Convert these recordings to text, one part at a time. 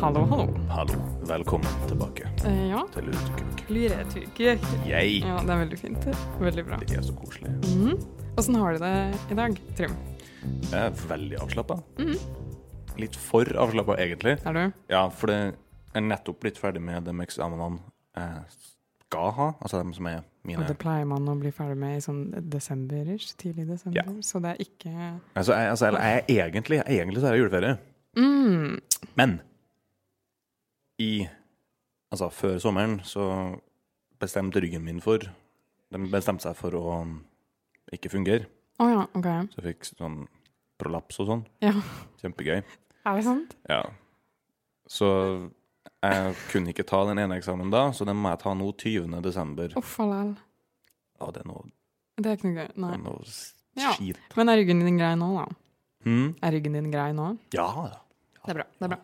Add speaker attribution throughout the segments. Speaker 1: Hallo, hallo.
Speaker 2: Hallo. Velkommen tilbake
Speaker 1: Eh, ja,
Speaker 2: til Lurtekuk.
Speaker 1: lyretuk. Ja,
Speaker 2: Jeg!
Speaker 1: det er veldig fint. Veldig bra.
Speaker 2: Det er så koselig.
Speaker 1: Mhm. Åssen har du det i dag, Trym?
Speaker 2: Jeg er veldig avslappa.
Speaker 1: Mhm.
Speaker 2: Litt for avslappa, egentlig.
Speaker 1: Er du?
Speaker 2: Ja, for det jeg er nettopp blitt ferdig med de eksamenene jeg skal ha. Altså de som er
Speaker 1: Og
Speaker 2: mine.
Speaker 1: det pleier man å bli ferdig med i sånn desemberish, tidlig desember,
Speaker 2: Ja.
Speaker 1: så det er ikke
Speaker 2: Altså, jeg, altså, eller jeg er egentlig, egentlig så er jeg juleferie.
Speaker 1: mm.
Speaker 2: Men i Altså, før sommeren så bestemte ryggen min for De bestemte seg for å ikke fungere.
Speaker 1: Å ja, OK.
Speaker 2: Så jeg fikk sånn prolaps og sånn.
Speaker 1: Ja.
Speaker 2: Kjempegøy.
Speaker 1: Er det sant?
Speaker 2: Ja. Så jeg kunne ikke ta den ene eksamen da, så den må jeg ta nå 20. desember.
Speaker 1: Uff a lel.
Speaker 2: Ja, det er noe,
Speaker 1: Det er ikke noe gøy.
Speaker 2: det
Speaker 1: Nei.
Speaker 2: er noe s-
Speaker 1: Ja.
Speaker 2: skit.
Speaker 1: Men er ryggen din grei nå, da?
Speaker 2: Hm?
Speaker 1: Er ryggen din grei nå?
Speaker 2: Ja da.
Speaker 1: Det er bra. det er bra.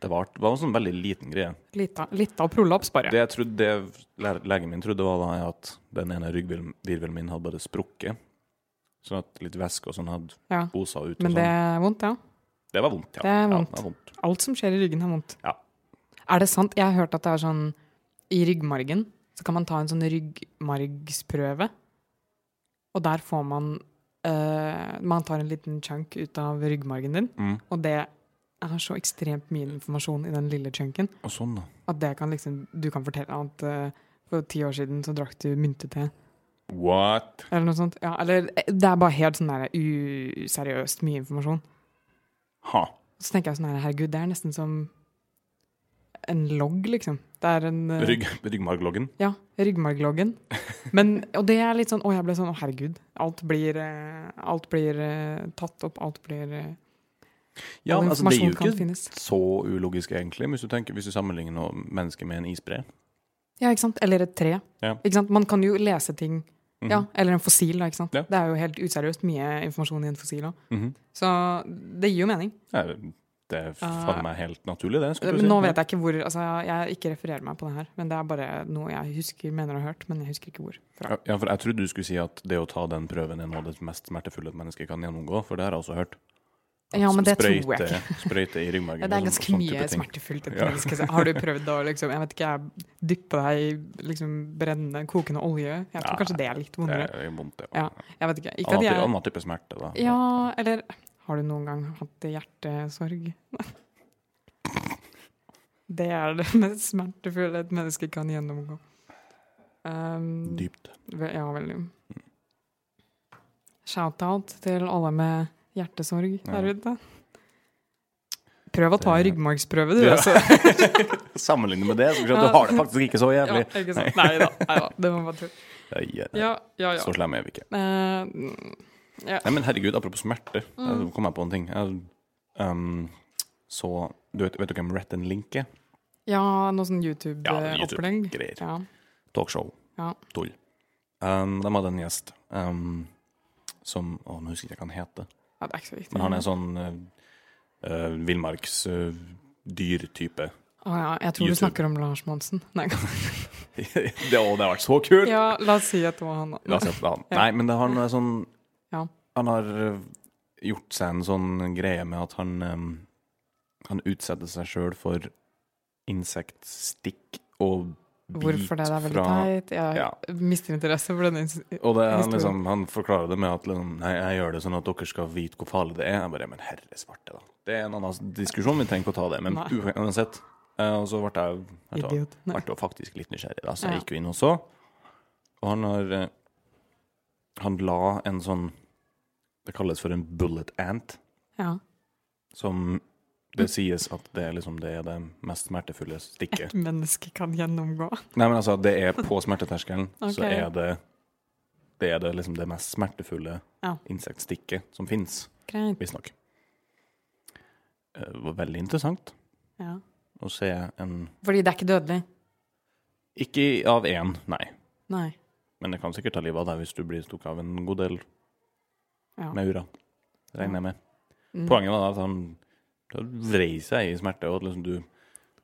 Speaker 2: Det var, var en sånn veldig liten greie.
Speaker 1: Litt av- Litt av prolaps, bare.
Speaker 2: Det jeg trodde, det le- legen min trodde, var da at den ene ryggvirvelen min hadde bare sprukket. Sånn at litt væske og sånn hadde
Speaker 1: Ja.
Speaker 2: bosa ut. og
Speaker 1: Men det
Speaker 2: sånn.
Speaker 1: er vondt, ja.
Speaker 2: det var vondt, ja.
Speaker 1: det er
Speaker 2: Ja,
Speaker 1: vondt.
Speaker 2: det var vondt.
Speaker 1: Alt som skjer i ryggen, er vondt.
Speaker 2: Ja.
Speaker 1: Er det sant? Jeg har hørt at det er sånn I ryggmargen så kan man ta en sånn ryggmargsprøve. Og der får man eh, Man tar en liten chunk ut av ryggmargen din,
Speaker 2: Mm.
Speaker 1: og det er så ekstremt mye informasjon i den lille chunken
Speaker 2: Og sånn, da.
Speaker 1: at det kan liksom Du kan fortelle at eh, for ti år siden så drakk du myntete,
Speaker 2: What?
Speaker 1: eller noe sånt. Ja, eller eh, Det er bare helt sånn der useriøst mye informasjon.
Speaker 2: Ha.
Speaker 1: Så tenker jeg sånn her, herregud, det er nesten som en logg, liksom. Det er en eh,
Speaker 2: Rygg, ryggmargloggen.
Speaker 1: Ja, ryggmargloggen. Men, og det er litt sånn, å jeg ble sånn, å herregud, alt blir, eh, alt blir eh, tatt opp, alt blir, eh,
Speaker 2: Ja,
Speaker 1: all
Speaker 2: men altså, det er
Speaker 1: informasjon
Speaker 2: jo
Speaker 1: kan
Speaker 2: ikke
Speaker 1: finnes.
Speaker 2: så ulogisk, egentlig, hvis du, tenker, hvis du sammenligner noe menneske med en isbre.
Speaker 1: Ja, ikke sant? Eller et tre.
Speaker 2: Ja.
Speaker 1: Ikke sant? Man kan jo lese ting,
Speaker 2: Mhm.
Speaker 1: ja, eller en fossil, da, ikke sant?
Speaker 2: Ja.
Speaker 1: Det er jo helt useriøst mye informasjon i en fossil også.
Speaker 2: Mhm.
Speaker 1: Så det gir jo mening.
Speaker 2: Nei, Det er faen meg helt naturlig, det.
Speaker 1: Ah.
Speaker 2: skulle du
Speaker 1: Men
Speaker 2: si.
Speaker 1: nå vet jeg ikke hvor, altså jeg ikke refererer meg på det her, men det er bare noe jeg husker, mener å ha hørt, men jeg husker ikke hvor. Fra.
Speaker 2: Ja, for Jeg trodde du skulle si at det å ta den prøven er noe av det mest smertefulle et menneske kan gjennomgå, for det har jeg også hørt. At
Speaker 1: Ja, men det tror jeg
Speaker 2: Sprøyte i ryggmargen.
Speaker 1: Ja, det er
Speaker 2: og sånn-
Speaker 1: ganske
Speaker 2: og sånn
Speaker 1: mye
Speaker 2: type ting.
Speaker 1: smertefullt.
Speaker 2: Ja.
Speaker 1: Ja. Har du prøvd å liksom, jeg vet ikke, jeg dyppe deg i liksom, brennende, kokende olje? Jeg tror
Speaker 2: Nei,
Speaker 1: kanskje det er litt
Speaker 2: Det
Speaker 1: vondere.
Speaker 2: er vondt, ja.
Speaker 1: Ja, Jeg vet ikke. ikke
Speaker 2: Annen,
Speaker 1: at
Speaker 2: ty-
Speaker 1: jeg,
Speaker 2: annen type smerte, da.
Speaker 1: ja, eller har du noen gang hatt hjertesorg? Det er det mest smertefulle et menneske kan gjennomgå. Um,
Speaker 2: Dypt.
Speaker 1: ve- Ja, veldig. Shout-out til alle med hjertesorg der
Speaker 2: Ja.
Speaker 1: ute. Prøv å ta
Speaker 2: Det-
Speaker 1: ryggmargsprøve, du.
Speaker 2: Ja.
Speaker 1: Altså.
Speaker 2: Sammenlignet med det, så skal du se at du har det faktisk ikke så jævlig.
Speaker 1: Ja, ikke sant. Nei da. Nei da. Det var bare tull.
Speaker 2: Nei, nei,
Speaker 1: Ja, ja, ja.
Speaker 2: Så slemme er vi ikke.
Speaker 1: Eh, mm, ja.
Speaker 2: Nei, men herregud, apropos smerte,
Speaker 1: Mm.
Speaker 2: da kom jeg på en ting. Jeg, um, så du vet, vet du hvem Rhett and Link er?
Speaker 1: ja, noe sånn
Speaker 2: Ja,
Speaker 1: YouTube-opplegg.
Speaker 2: YouTube-greier.
Speaker 1: Ja,
Speaker 2: Talkshow.
Speaker 1: Ja.
Speaker 2: Tull. Um, de hadde en gjest um, som Å, nå husker jeg ikke hva han heter.
Speaker 1: ja, det er ikke så viktig.
Speaker 2: Men han er sånn uh, uh, villmarksdyrtype.
Speaker 1: Å ja, jeg tror du
Speaker 2: YouTube.
Speaker 1: snakker om Lars Monsen. Nei,
Speaker 2: det, å, det har vært så kult!
Speaker 1: ja, la oss si at det var han,
Speaker 2: La
Speaker 1: da.
Speaker 2: oss se på han. Nei, men det, han er sånn
Speaker 1: Ja.
Speaker 2: Han har uh, gjort seg en sånn greie med at han um, Han utsetter seg sjøl for insektstikk og bit
Speaker 1: Hvorfor det? Det er veldig
Speaker 2: fra
Speaker 1: teit. Jeg
Speaker 2: Ja.
Speaker 1: mister interesse for denne ins-
Speaker 2: Og det, han,
Speaker 1: Historien.
Speaker 2: liksom, han forklarer det med at liksom, Nei, jeg gjør det sånn at dere skal vite hvor farlig det er. Jeg bare, Men herre svarte, da. Det er en annen diskusjon, vi trenger ikke å ta det. Men
Speaker 1: Nei.
Speaker 2: u- uansett. eh, Og så ble jeg, vet du hva,
Speaker 1: idiot. Nei.
Speaker 2: ble jeg faktisk litt nysgjerrig, da, så
Speaker 1: Ja.
Speaker 2: jeg gikk jo inn og så. Og han har eh, Han la en sånn Det kalles for en bullet ant,
Speaker 1: Ja.
Speaker 2: som
Speaker 1: Mm.
Speaker 2: det sies at det er liksom det er det mest smertefulle stikket.
Speaker 1: Et menneske kan gjennomgå.
Speaker 2: Nei, men altså, det er på smerteterskelen,
Speaker 1: Ok.
Speaker 2: så er det det er det, liksom det mest smertefulle
Speaker 1: Ja.
Speaker 2: insektstikket som fins,
Speaker 1: Greit.
Speaker 2: visstnok. Eh, Det var veldig interessant
Speaker 1: Ja.
Speaker 2: å se en
Speaker 1: Fordi det er ikke dødelig?
Speaker 2: Ikke av én, nei,
Speaker 1: Nei.
Speaker 2: men det kan sikkert ta livet av deg hvis du blir stukket av en god del
Speaker 1: Ja.
Speaker 2: med ura. Regner jeg med.
Speaker 1: Mm.
Speaker 2: Poenget var da at han da vrei seg i smerte, og at liksom du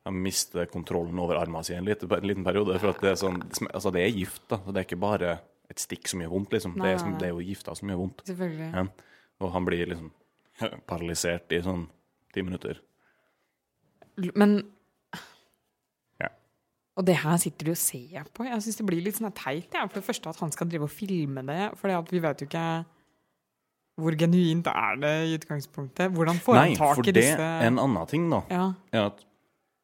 Speaker 2: han mister kontrollen over armen sin en liten, en liten periode. For at det er sånn sm- Altså, det er gift, da. Det er ikke bare et stikk som gjør vondt, liksom.
Speaker 1: Nei,
Speaker 2: det, er, som-
Speaker 1: nei, nei.
Speaker 2: det er jo gifta som gjør vondt.
Speaker 1: Selvfølgelig.
Speaker 2: Ja. Og han blir liksom paralysert i sånn ti minutter.
Speaker 1: L- Men
Speaker 2: Ja.
Speaker 1: Og det her sitter de og ser på. Jeg syns det blir litt sånn her teit. Ja. For det første at han skal drive og filme det. For vi vet jo ikke hvor genuint er det i utgangspunktet. Hvordan får
Speaker 2: Nei,
Speaker 1: han tak
Speaker 2: for
Speaker 1: i
Speaker 2: det
Speaker 1: disse
Speaker 2: er en annen ting, da.
Speaker 1: ja.
Speaker 2: er at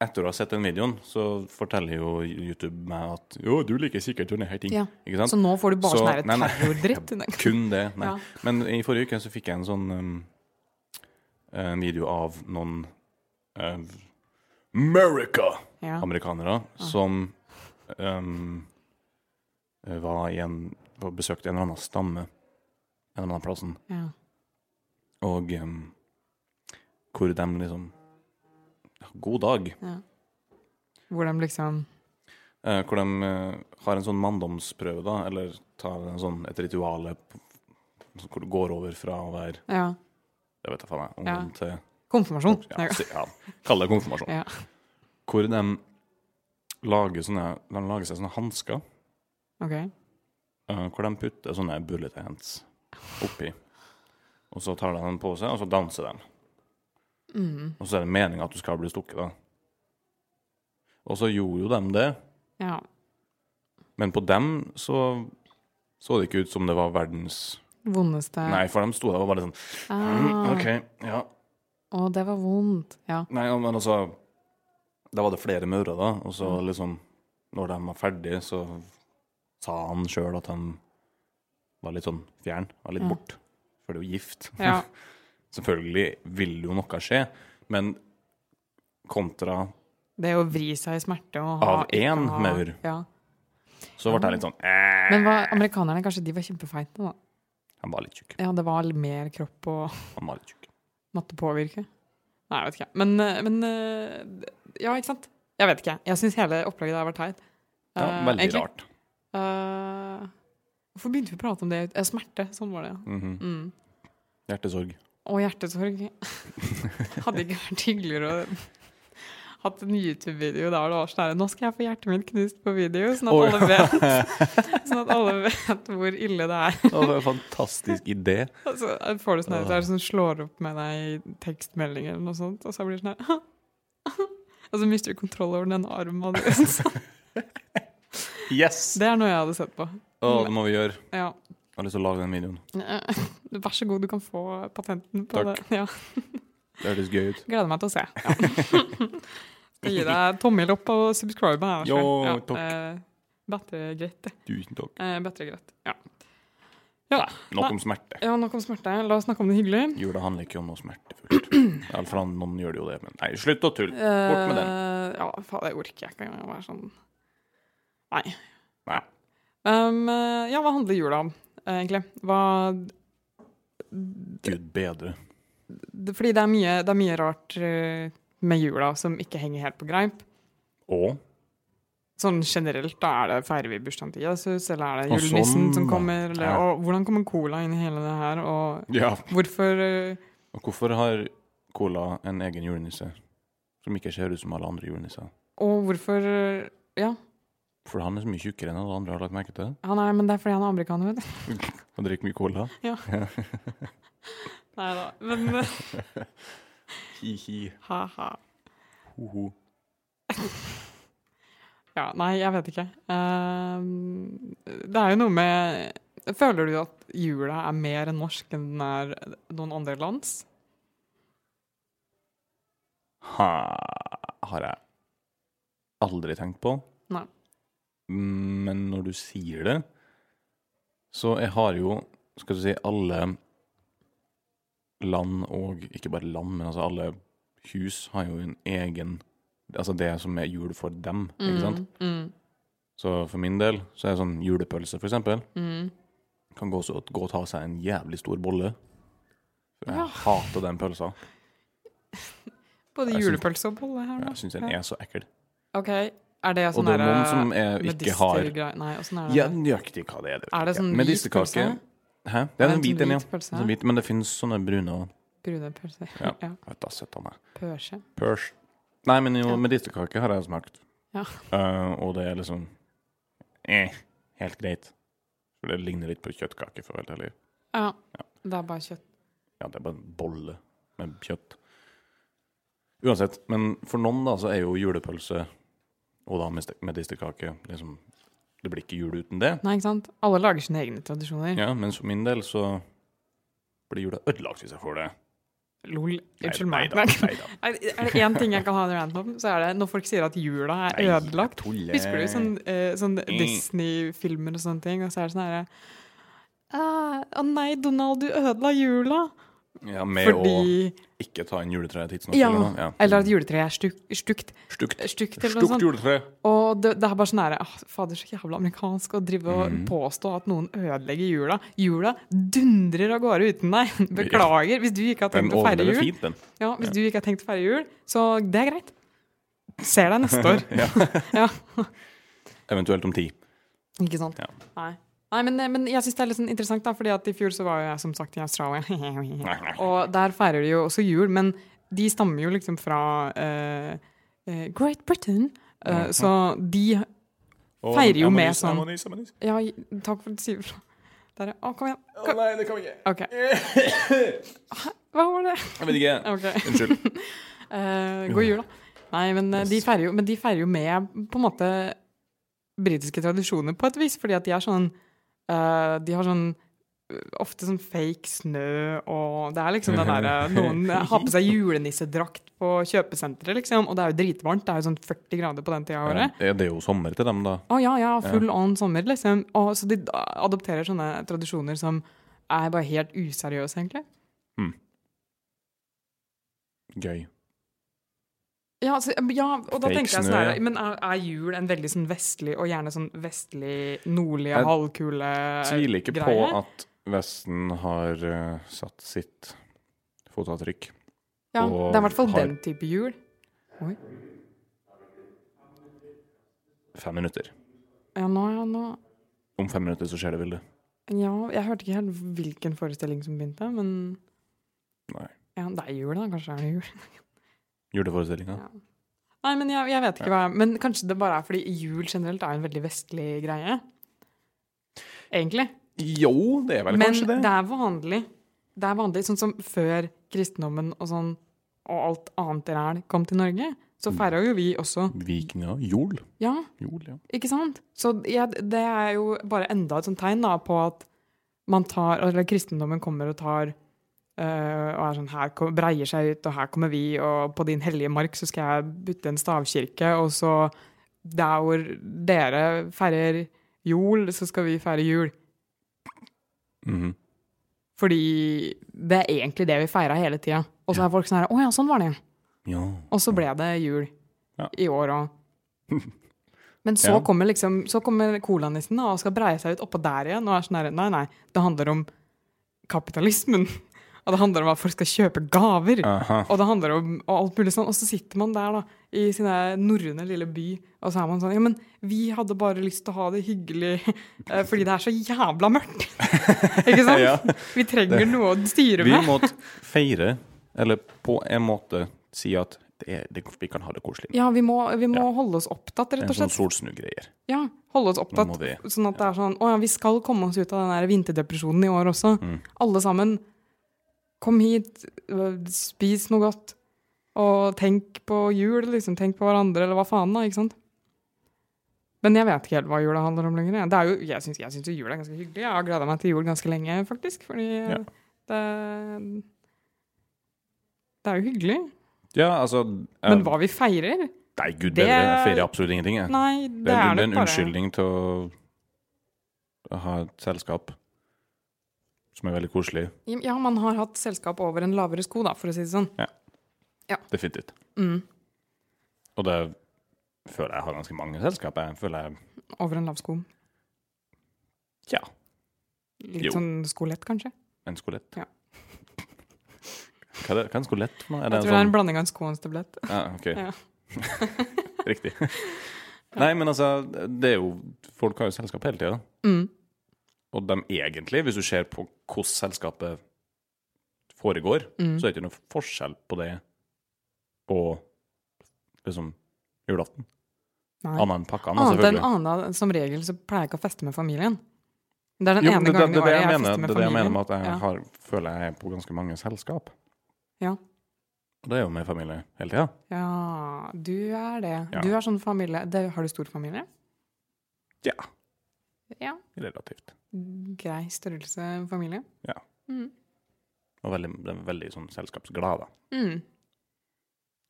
Speaker 2: etter å ha sett den videoen, så forteller jo YouTube meg at Jo, du liker sikkert Johnny Hating.
Speaker 1: Ja.
Speaker 2: Ikke sant?
Speaker 1: Så nå får du bare
Speaker 2: Så-
Speaker 1: sånn her
Speaker 2: nei, nei.
Speaker 1: terrordritt. Nei,
Speaker 2: Kun det. Nei.
Speaker 1: Ja.
Speaker 2: Men i forrige uke så fikk jeg en sånn um, en video av noen um, America-amerikanere
Speaker 1: ja.
Speaker 2: som um, eh, var i en var- Besøkte en eller annen stamme en eller annen plassen,
Speaker 1: Ja.
Speaker 2: og um, hvor de liksom God dag.
Speaker 1: Ja. Hvor de liksom
Speaker 2: Eh, hvor de eh, har en sånn manndomsprøve, da, eller tar en sånn, et rituale p- hvor det går over fra å være
Speaker 1: Ja.
Speaker 2: jeg vet da faen, jeg,
Speaker 1: Ja.
Speaker 2: ungdom
Speaker 1: Konfirmasjon.
Speaker 2: til
Speaker 1: Nei,
Speaker 2: ja, si- ja, Kall det konfirmasjon.
Speaker 1: Ja.
Speaker 2: Hvor de lager, sånne, de lager seg sånne hansker
Speaker 1: OK.
Speaker 2: eh, hvor de putter sånne bullet hands oppi. Og så tar de den på seg, og så danser de.
Speaker 1: Mm.
Speaker 2: Og så er det meninga at du skal bli stukket, da. Og så gjorde jo de det,
Speaker 1: Ja.
Speaker 2: men på dem så så det ikke ut som det var verdens
Speaker 1: Vondeste
Speaker 2: Nei, for de sto der og bare sånn
Speaker 1: Ah,
Speaker 2: «Mm, OK, ja.
Speaker 1: Å, det var vondt. Ja.
Speaker 2: Nei, ja, men altså Da var det flere mødre, da. Og så liksom Når de var ferdige, så sa han sjøl at han var litt sånn fjern, var litt
Speaker 1: Ja.
Speaker 2: bort. For det er jo gift.
Speaker 1: Mm. ja.
Speaker 2: Selvfølgelig vil jo noe skje, men kontra
Speaker 1: Det å vri seg i smerte og
Speaker 2: Av
Speaker 1: ikke
Speaker 2: én
Speaker 1: ha-
Speaker 2: maur.
Speaker 1: Ja.
Speaker 2: Så ble jeg litt sånn eh.
Speaker 1: Men hva, amerikanerne kanskje de var kjempefeite, da.
Speaker 2: Han var litt tjukk.
Speaker 1: Ja, det var mer kropp og
Speaker 2: Han var litt tjukk.
Speaker 1: måtte påvirke. Nei, jeg vet ikke. Men, eh, men eh, Ja, ikke sant? Jeg vet ikke. Jeg syns hele opplegget der var teit.
Speaker 2: Ja,
Speaker 1: Eh,
Speaker 2: veldig
Speaker 1: egentlig.
Speaker 2: rart.
Speaker 1: Eh, hvorfor begynte vi å prate om det? Eh, smerte. Sånn var det. ja.
Speaker 2: Mhm.
Speaker 1: Mm.
Speaker 2: Hjertesorg.
Speaker 1: Og hjertesorg. Hadde ikke vært hyggeligere å hatt en YouTube-video der det var sånn her Nå skal jeg få hjertet mitt knust på video, sånn at,
Speaker 2: Oi.
Speaker 1: alle, vet, sånn at alle vet hvor ille det er.
Speaker 2: Det var en fantastisk idé.
Speaker 1: Og Så får du sånn her, så er det sånn slår opp med deg i tekstmeldinger eller noe sånt, og så blir det sånn her Og så mister du kontroll over den armen. din.
Speaker 2: Yes!
Speaker 1: Det er noe jeg hadde sett på.
Speaker 2: Å, det må vi gjøre. Jeg
Speaker 1: Ja. Eh,
Speaker 2: har lyst til å lage den videoen.
Speaker 1: Vær så god, du kan få patenten på
Speaker 2: Takk.
Speaker 1: det. Ja.
Speaker 2: Det hørtes gøy ut.
Speaker 1: Gleder meg til å se. Ja. Skal gi deg tommel opp og subscribe her.
Speaker 2: Jo, takk.
Speaker 1: Eh, Battegreit. det.
Speaker 2: Tusen takk.
Speaker 1: Eh, battegreit. Ja.
Speaker 2: Nok om smerte.
Speaker 1: ja, nok om smerte. La oss snakke om det hyggelige.
Speaker 2: Jula handler ikke om noe smertefullt. Eller for han- noen gjør det jo det, men nei, slutt å tulle. Bort med den.
Speaker 1: Eh, ja, faen, det orker jeg ikke engang å være sånn Nei.
Speaker 2: Nei.
Speaker 1: Um, eh, ja, hva handler jula om, eh, egentlig? Hva
Speaker 2: Gud bedre.
Speaker 1: det, Fordi det er mye, det er mye rart eh, med jula som ikke henger helt på greip.
Speaker 2: Og
Speaker 1: Sånn generelt, da er det feirer vi bursdagen til Jesus, eller er det
Speaker 2: Og
Speaker 1: julenissen
Speaker 2: sånn,
Speaker 1: som
Speaker 2: da.
Speaker 1: kommer, eller
Speaker 2: Ja.
Speaker 1: og hvordan kommer cola inn i hele det her, og
Speaker 2: Ja.
Speaker 1: Hvorfor eh,
Speaker 2: Og hvorfor har Cola en egen julenisse som ikke ser ut som alle andre julenisser?
Speaker 1: Og hvorfor eh, Ja,
Speaker 2: For han er så mye tjukkere enn alle andre, har du lagt merke til det?
Speaker 1: han er, men det er fordi han er amerikaner, vet du.
Speaker 2: Han drikker mye cola.
Speaker 1: Nei da. Men eh,
Speaker 2: Hi-hi.
Speaker 1: ha-ha.
Speaker 2: Ho-ho.
Speaker 1: Ja, nei, jeg vet ikke. Ehm, det er jo noe med Føler du at jula er mer norsk enn den er noen andre lands?
Speaker 2: Ha, har jeg aldri tenkt på.
Speaker 1: Nei.
Speaker 2: Mm, Men når du sier det, så jeg har jo, skal du si, alle land og Ikke bare land, men altså alle hus har jo en egen Altså det som er jul for dem, ikke sant?
Speaker 1: Mm,
Speaker 2: Så for min del så er det sånn julepølse, for eksempel.
Speaker 1: mm, mm.
Speaker 2: Kan gå, så, gå og ta seg en jævlig stor bolle. Jeg
Speaker 1: Ja.
Speaker 2: hater den pølsa.
Speaker 1: Både
Speaker 2: Jeg syns-
Speaker 1: julepølse og bolle her nå.
Speaker 2: Jeg syns den er så ekkel.
Speaker 1: OK, er det
Speaker 2: Og
Speaker 1: sånn
Speaker 2: det er
Speaker 1: derre
Speaker 2: noen som er, ikke har
Speaker 1: medistergreier- Nei, åssen er det?
Speaker 2: Ja, nøyaktig hva det er.
Speaker 1: Er det sånn
Speaker 2: Men
Speaker 1: hvit
Speaker 2: disse kake-
Speaker 1: pølse?
Speaker 2: Hæ? Det er
Speaker 1: det
Speaker 2: en
Speaker 1: en
Speaker 2: hvit en, ja.
Speaker 1: hvit pølse?
Speaker 2: Sånn hvit, men det finnes sånne brune og
Speaker 1: Brune pølser.
Speaker 2: Ja.
Speaker 1: Ja.
Speaker 2: Vet da, sett av meg.
Speaker 1: Pølse.
Speaker 2: Pørs. Nei, men jo,
Speaker 1: Ja.
Speaker 2: medisterkake har jeg smakt.
Speaker 1: Ja.
Speaker 2: Eh, og det er liksom eh, helt greit. For det ligner litt på kjøttkake, for å være helt ærlig.
Speaker 1: Ja. Det er bare kjøtt.
Speaker 2: Ja, det er bare en bolle med kjøtt. Uansett, men for noen da, så er jo julepølse og da med medisterkake liksom, Det blir ikke jul uten det.
Speaker 1: Nei, ikke sant? Alle lager sine egne tradisjoner.
Speaker 2: Ja, men for min del så blir jula ødelagt hvis jeg får det.
Speaker 1: Lol.
Speaker 2: Nei,
Speaker 1: Unnskyld
Speaker 2: nei
Speaker 1: meg.
Speaker 2: da, nei da.
Speaker 1: Er er det én ting jeg kan ha en rant om, så er det når folk sier at jula er
Speaker 2: Nei, jeg
Speaker 1: ødelagt.
Speaker 2: tuller.
Speaker 1: Husker du sånn, eh, sånn
Speaker 2: Mm.
Speaker 1: Disney-filmer og sånne ting, og så er det sånn herre «Ah, Å nei, Donald, du ødela jula!
Speaker 2: Ja, Med
Speaker 1: Fordi
Speaker 2: å ikke ta inn juletreet tidsnok.
Speaker 1: Ja.
Speaker 2: Eller, noe, ja.
Speaker 1: Eller at juletreet er stygt. Stygt,
Speaker 2: Stukt.
Speaker 1: stygt eller noe
Speaker 2: Stukt
Speaker 1: sånt.
Speaker 2: juletre.
Speaker 1: Og det, det er bare sånn herre «Ah, Fader, så jævla amerikansk å drive og
Speaker 2: Mhm.
Speaker 1: påstå at noen ødelegger jula. Jula dundrer av gårde uten deg. Beklager. Hvis du ikke har
Speaker 2: Den
Speaker 1: tenkt å feire
Speaker 2: overlever
Speaker 1: jul,
Speaker 2: fint, den.
Speaker 1: ja, hvis
Speaker 2: Ja.
Speaker 1: du ikke har tenkt å feire jul, så det er greit. Ser deg neste år.
Speaker 2: Ja.
Speaker 1: Ja.
Speaker 2: Eventuelt om ti.
Speaker 1: Ikke sant?
Speaker 2: Ja.
Speaker 1: Nei. Nei, men, men jeg syns det er litt sånn interessant, da, fordi at i fjor så var jo jeg som sagt i Australia. og der feirer de jo også jul, men de stammer jo liksom fra eh, eh, Great Britain. Eh,
Speaker 2: Mhm.
Speaker 1: Så de
Speaker 2: Og-
Speaker 1: Feirer jo
Speaker 2: jeg må
Speaker 1: med
Speaker 2: nyse, jeg må
Speaker 1: sånn-
Speaker 2: nyse, jeg må nyse.
Speaker 1: Ja, takk for at du sier ifra. Der, er- å, kom igjen.
Speaker 2: Å nei, det kan vi ikke.
Speaker 1: OK. Hva var det?
Speaker 2: Jeg vet ikke.
Speaker 1: OK.
Speaker 2: Unnskyld.
Speaker 1: Eh, god jul, da. Nei, men eh, de
Speaker 2: Yes.
Speaker 1: feirer jo, men de feirer jo med på en måte britiske tradisjoner på et vis, fordi at de er sånn eh, De har sånn eh, Ofte sånn fake snø, og det er liksom den derre Noen eh, har på seg julenissedrakt på kjøpesenteret, liksom, og det er jo dritvarmt. Det er jo sånn 40 grader på den tida av
Speaker 2: Ja,
Speaker 1: året.
Speaker 2: det er jo sommer til dem, da.
Speaker 1: Å ja, ja, full on sommer, liksom. Og, så de da adopterer sånne tradisjoner som er bare helt useriøse, egentlig.
Speaker 2: Gøy.
Speaker 1: Ja, altså, ja, og da
Speaker 2: Fake
Speaker 1: tenker jeg
Speaker 2: snø,
Speaker 1: sånn her,
Speaker 2: ja.
Speaker 1: Men er, er jul en veldig sånn vestlig, og gjerne sånn vestlig, nordlige
Speaker 2: Jeg
Speaker 1: halvkule
Speaker 2: Tviler ikke på
Speaker 1: greie?
Speaker 2: at Vesten har eh, satt sitt fotavtrykk.
Speaker 1: Ja,
Speaker 2: og
Speaker 1: det er i hvert fall
Speaker 2: har-
Speaker 1: den type jul. Oi.
Speaker 2: Fem minutter.
Speaker 1: Ja, nå, ja, nå
Speaker 2: Om fem minutter så skjer det vilde.
Speaker 1: Ja, jeg hørte ikke helt hvilken forestilling som begynte, men
Speaker 2: Nei.
Speaker 1: Ja, det er jul, da. Kanskje det er jul.
Speaker 2: Juleforestillinga.
Speaker 1: Ja. Nei, men jeg, jeg vet ikke hva Men kanskje det bare er fordi jul generelt er en veldig vestlig greie. Egentlig.
Speaker 2: Jo, det er vel
Speaker 1: Men
Speaker 2: kanskje det.
Speaker 1: det er vanlig. Det er vanlig, sånn som før kristendommen og sånn, og alt annet ræl kom til Norge,
Speaker 2: Mm.
Speaker 1: så feira jo vi også
Speaker 2: Vikinga. Jol.
Speaker 1: Ja,
Speaker 2: Jol, ja.
Speaker 1: ikke sant? Så ja, det er jo bare enda et sånt tegn da, på at man tar, eller kristendommen kommer og tar eh, og er sånn, her kom, breier seg ut, og her kommer vi, og på din hellige mark så skal jeg bytte en stavkirke, og så der hvor dere feirer jul, så skal vi feire jul.
Speaker 2: Mhm.
Speaker 1: Fordi det er egentlig det vi feira hele tida. Og så er folk sånn her Å ja, sånn var det.
Speaker 2: ja.
Speaker 1: Og så ble det jul
Speaker 2: Ja.
Speaker 1: i år òg. Men så
Speaker 2: Ja.
Speaker 1: kommer liksom Så kommer colanissen da, og skal breie seg ut oppå der igjen. Og er sånn her Nei, nei. Det handler om kapitalismen. Og det handler om at folk skal kjøpe gaver.
Speaker 2: Aha.
Speaker 1: Og det handler om og alt mulig sånn. Og så sitter man der, da, i sin der norrøne lille by, og så er man sånn Ja, men vi hadde bare lyst til å ha det hyggelig eh, fordi det er så jævla mørkt. Ikke sant?
Speaker 2: Ja.
Speaker 1: Vi trenger noe å styre
Speaker 2: Vi
Speaker 1: med.
Speaker 2: må feire, eller på en måte si at det er, det, vi kan ha det koselig.
Speaker 1: Ja, vi må, vi må
Speaker 2: Ja.
Speaker 1: holde oss opptatt,
Speaker 2: Det
Speaker 1: rett
Speaker 2: er
Speaker 1: og
Speaker 2: sånn
Speaker 1: slett.
Speaker 2: solsnugreier.
Speaker 1: Ja, holde oss
Speaker 2: Nå
Speaker 1: opptatt.
Speaker 2: må vi
Speaker 1: Sånn at det er sånn Å ja, vi skal komme oss ut av den der vinterdepresjonen i år også.
Speaker 2: Mm.
Speaker 1: Alle sammen, kom hit, øh, spis noe godt. Og tenk på jul, liksom. Tenk på hverandre, eller hva faen, da. Ikke sant? Men jeg vet ikke helt hva jula handler om lenger. jeg. Det er jo, jeg syns jeg syns jo jul er ganske hyggelig. Jeg har gleda meg til jul ganske lenge, faktisk. Fordi
Speaker 2: Ja.
Speaker 1: øh, det Det er jo hyggelig.
Speaker 2: Ja, altså eh,
Speaker 1: Men hva vi feirer?
Speaker 2: Nei, gud
Speaker 1: det-
Speaker 2: bedre, jeg feirer absolutt ingenting, jeg.
Speaker 1: Nei, det,
Speaker 2: det er,
Speaker 1: nok
Speaker 2: det er en
Speaker 1: bare-
Speaker 2: unnskyldning til å ha et selskap som er veldig koselig.
Speaker 1: Ja, man har hatt selskap over en lavere sko, da, for å si det sånn.
Speaker 2: Definitivt.
Speaker 1: Mm.
Speaker 2: Og det føler jeg har ganske mange selskap. Jeg føler jeg
Speaker 1: Over en lav sko.
Speaker 2: Tja,
Speaker 1: Litt
Speaker 2: Jo.
Speaker 1: sånn skolett, kanskje.
Speaker 2: en skolett.
Speaker 1: Ja.
Speaker 2: Hva er det- hva er en skolett for noe? Er
Speaker 1: Jeg
Speaker 2: det
Speaker 1: tror det er
Speaker 2: en
Speaker 1: en
Speaker 2: sånn
Speaker 1: blanding av en sko og en stablett.
Speaker 2: Ja, ok.
Speaker 1: Ja.
Speaker 2: Riktig. Nei, men altså, det er jo Folk har jo selskap hele tida.
Speaker 1: Mm.
Speaker 2: Og de egentlig, hvis du ser på hvordan selskapet foregår,
Speaker 1: Mm.
Speaker 2: så er det ikke noe forskjell på det og liksom julaften.
Speaker 1: Nei.
Speaker 2: Annet enn pakkene,
Speaker 1: Annet enn
Speaker 2: selvfølgelig.
Speaker 1: annet, eh, som regel så pleier jeg ikke å feste med familien. Det er den
Speaker 2: Jo, men
Speaker 1: ene
Speaker 2: det, det,
Speaker 1: gangen i
Speaker 2: det, er det,
Speaker 1: året
Speaker 2: jeg
Speaker 1: jeg
Speaker 2: mener,
Speaker 1: fester
Speaker 2: det
Speaker 1: med
Speaker 2: er det jeg mener
Speaker 1: familien.
Speaker 2: med at jeg
Speaker 1: Ja.
Speaker 2: har, føler jeg er på ganske mange selskap.
Speaker 1: Ja.
Speaker 2: Og det er jo med familie hele tida.
Speaker 1: Ja, du er det.
Speaker 2: Ja.
Speaker 1: Du er sånn familie det, Har du stor familie?
Speaker 2: Ja.
Speaker 1: Ja.
Speaker 2: Relativt.
Speaker 1: Grei størrelse familie.
Speaker 2: Ja.
Speaker 1: Mm.
Speaker 2: Og veldig, de er veldig sånn selskapsglade.
Speaker 1: Mm.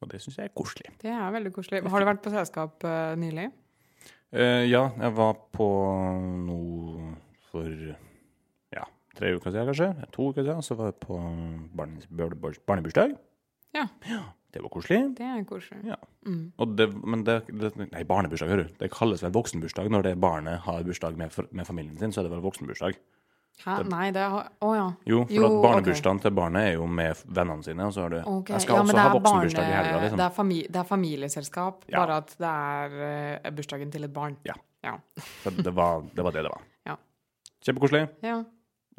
Speaker 2: Og det syns jeg er koselig.
Speaker 1: Det er veldig koselig. Har du vært på selskap eh, nylig?
Speaker 2: Eh, ja, jeg var på eh, noe for ja, tre uker siden, kanskje. To uker siden. Så var jeg på barnens- bør- bør- barnebursdag.
Speaker 1: Ja.
Speaker 2: Det var koselig.
Speaker 1: Det er koselig.
Speaker 2: Ja.
Speaker 1: Mm.
Speaker 2: Og det, men det, det Nei, barnebursdag, hører du. Det kalles vel voksenbursdag når det barnet har bursdag med, for- med familien sin. Så er det vel voksenbursdag.
Speaker 1: Hæ? Nei, det har Å ja.
Speaker 2: Jo, for
Speaker 1: Jo,
Speaker 2: at
Speaker 1: ok.
Speaker 2: barnebursdagen til barnet er jo med vennene sine, og så har du
Speaker 1: Ok.
Speaker 2: Jeg skal
Speaker 1: ja, men
Speaker 2: også
Speaker 1: det
Speaker 2: ha
Speaker 1: er
Speaker 2: voksenbursdag i
Speaker 1: barne-
Speaker 2: helga, liksom.
Speaker 1: Det er, fami det er familieselskap,
Speaker 2: Ja.
Speaker 1: bare at det er eh, bursdagen til et barn.
Speaker 2: Ja.
Speaker 1: Ja.
Speaker 2: Så det, var, det var det det var.
Speaker 1: Ja.
Speaker 2: Kjempekoselig.
Speaker 1: ja.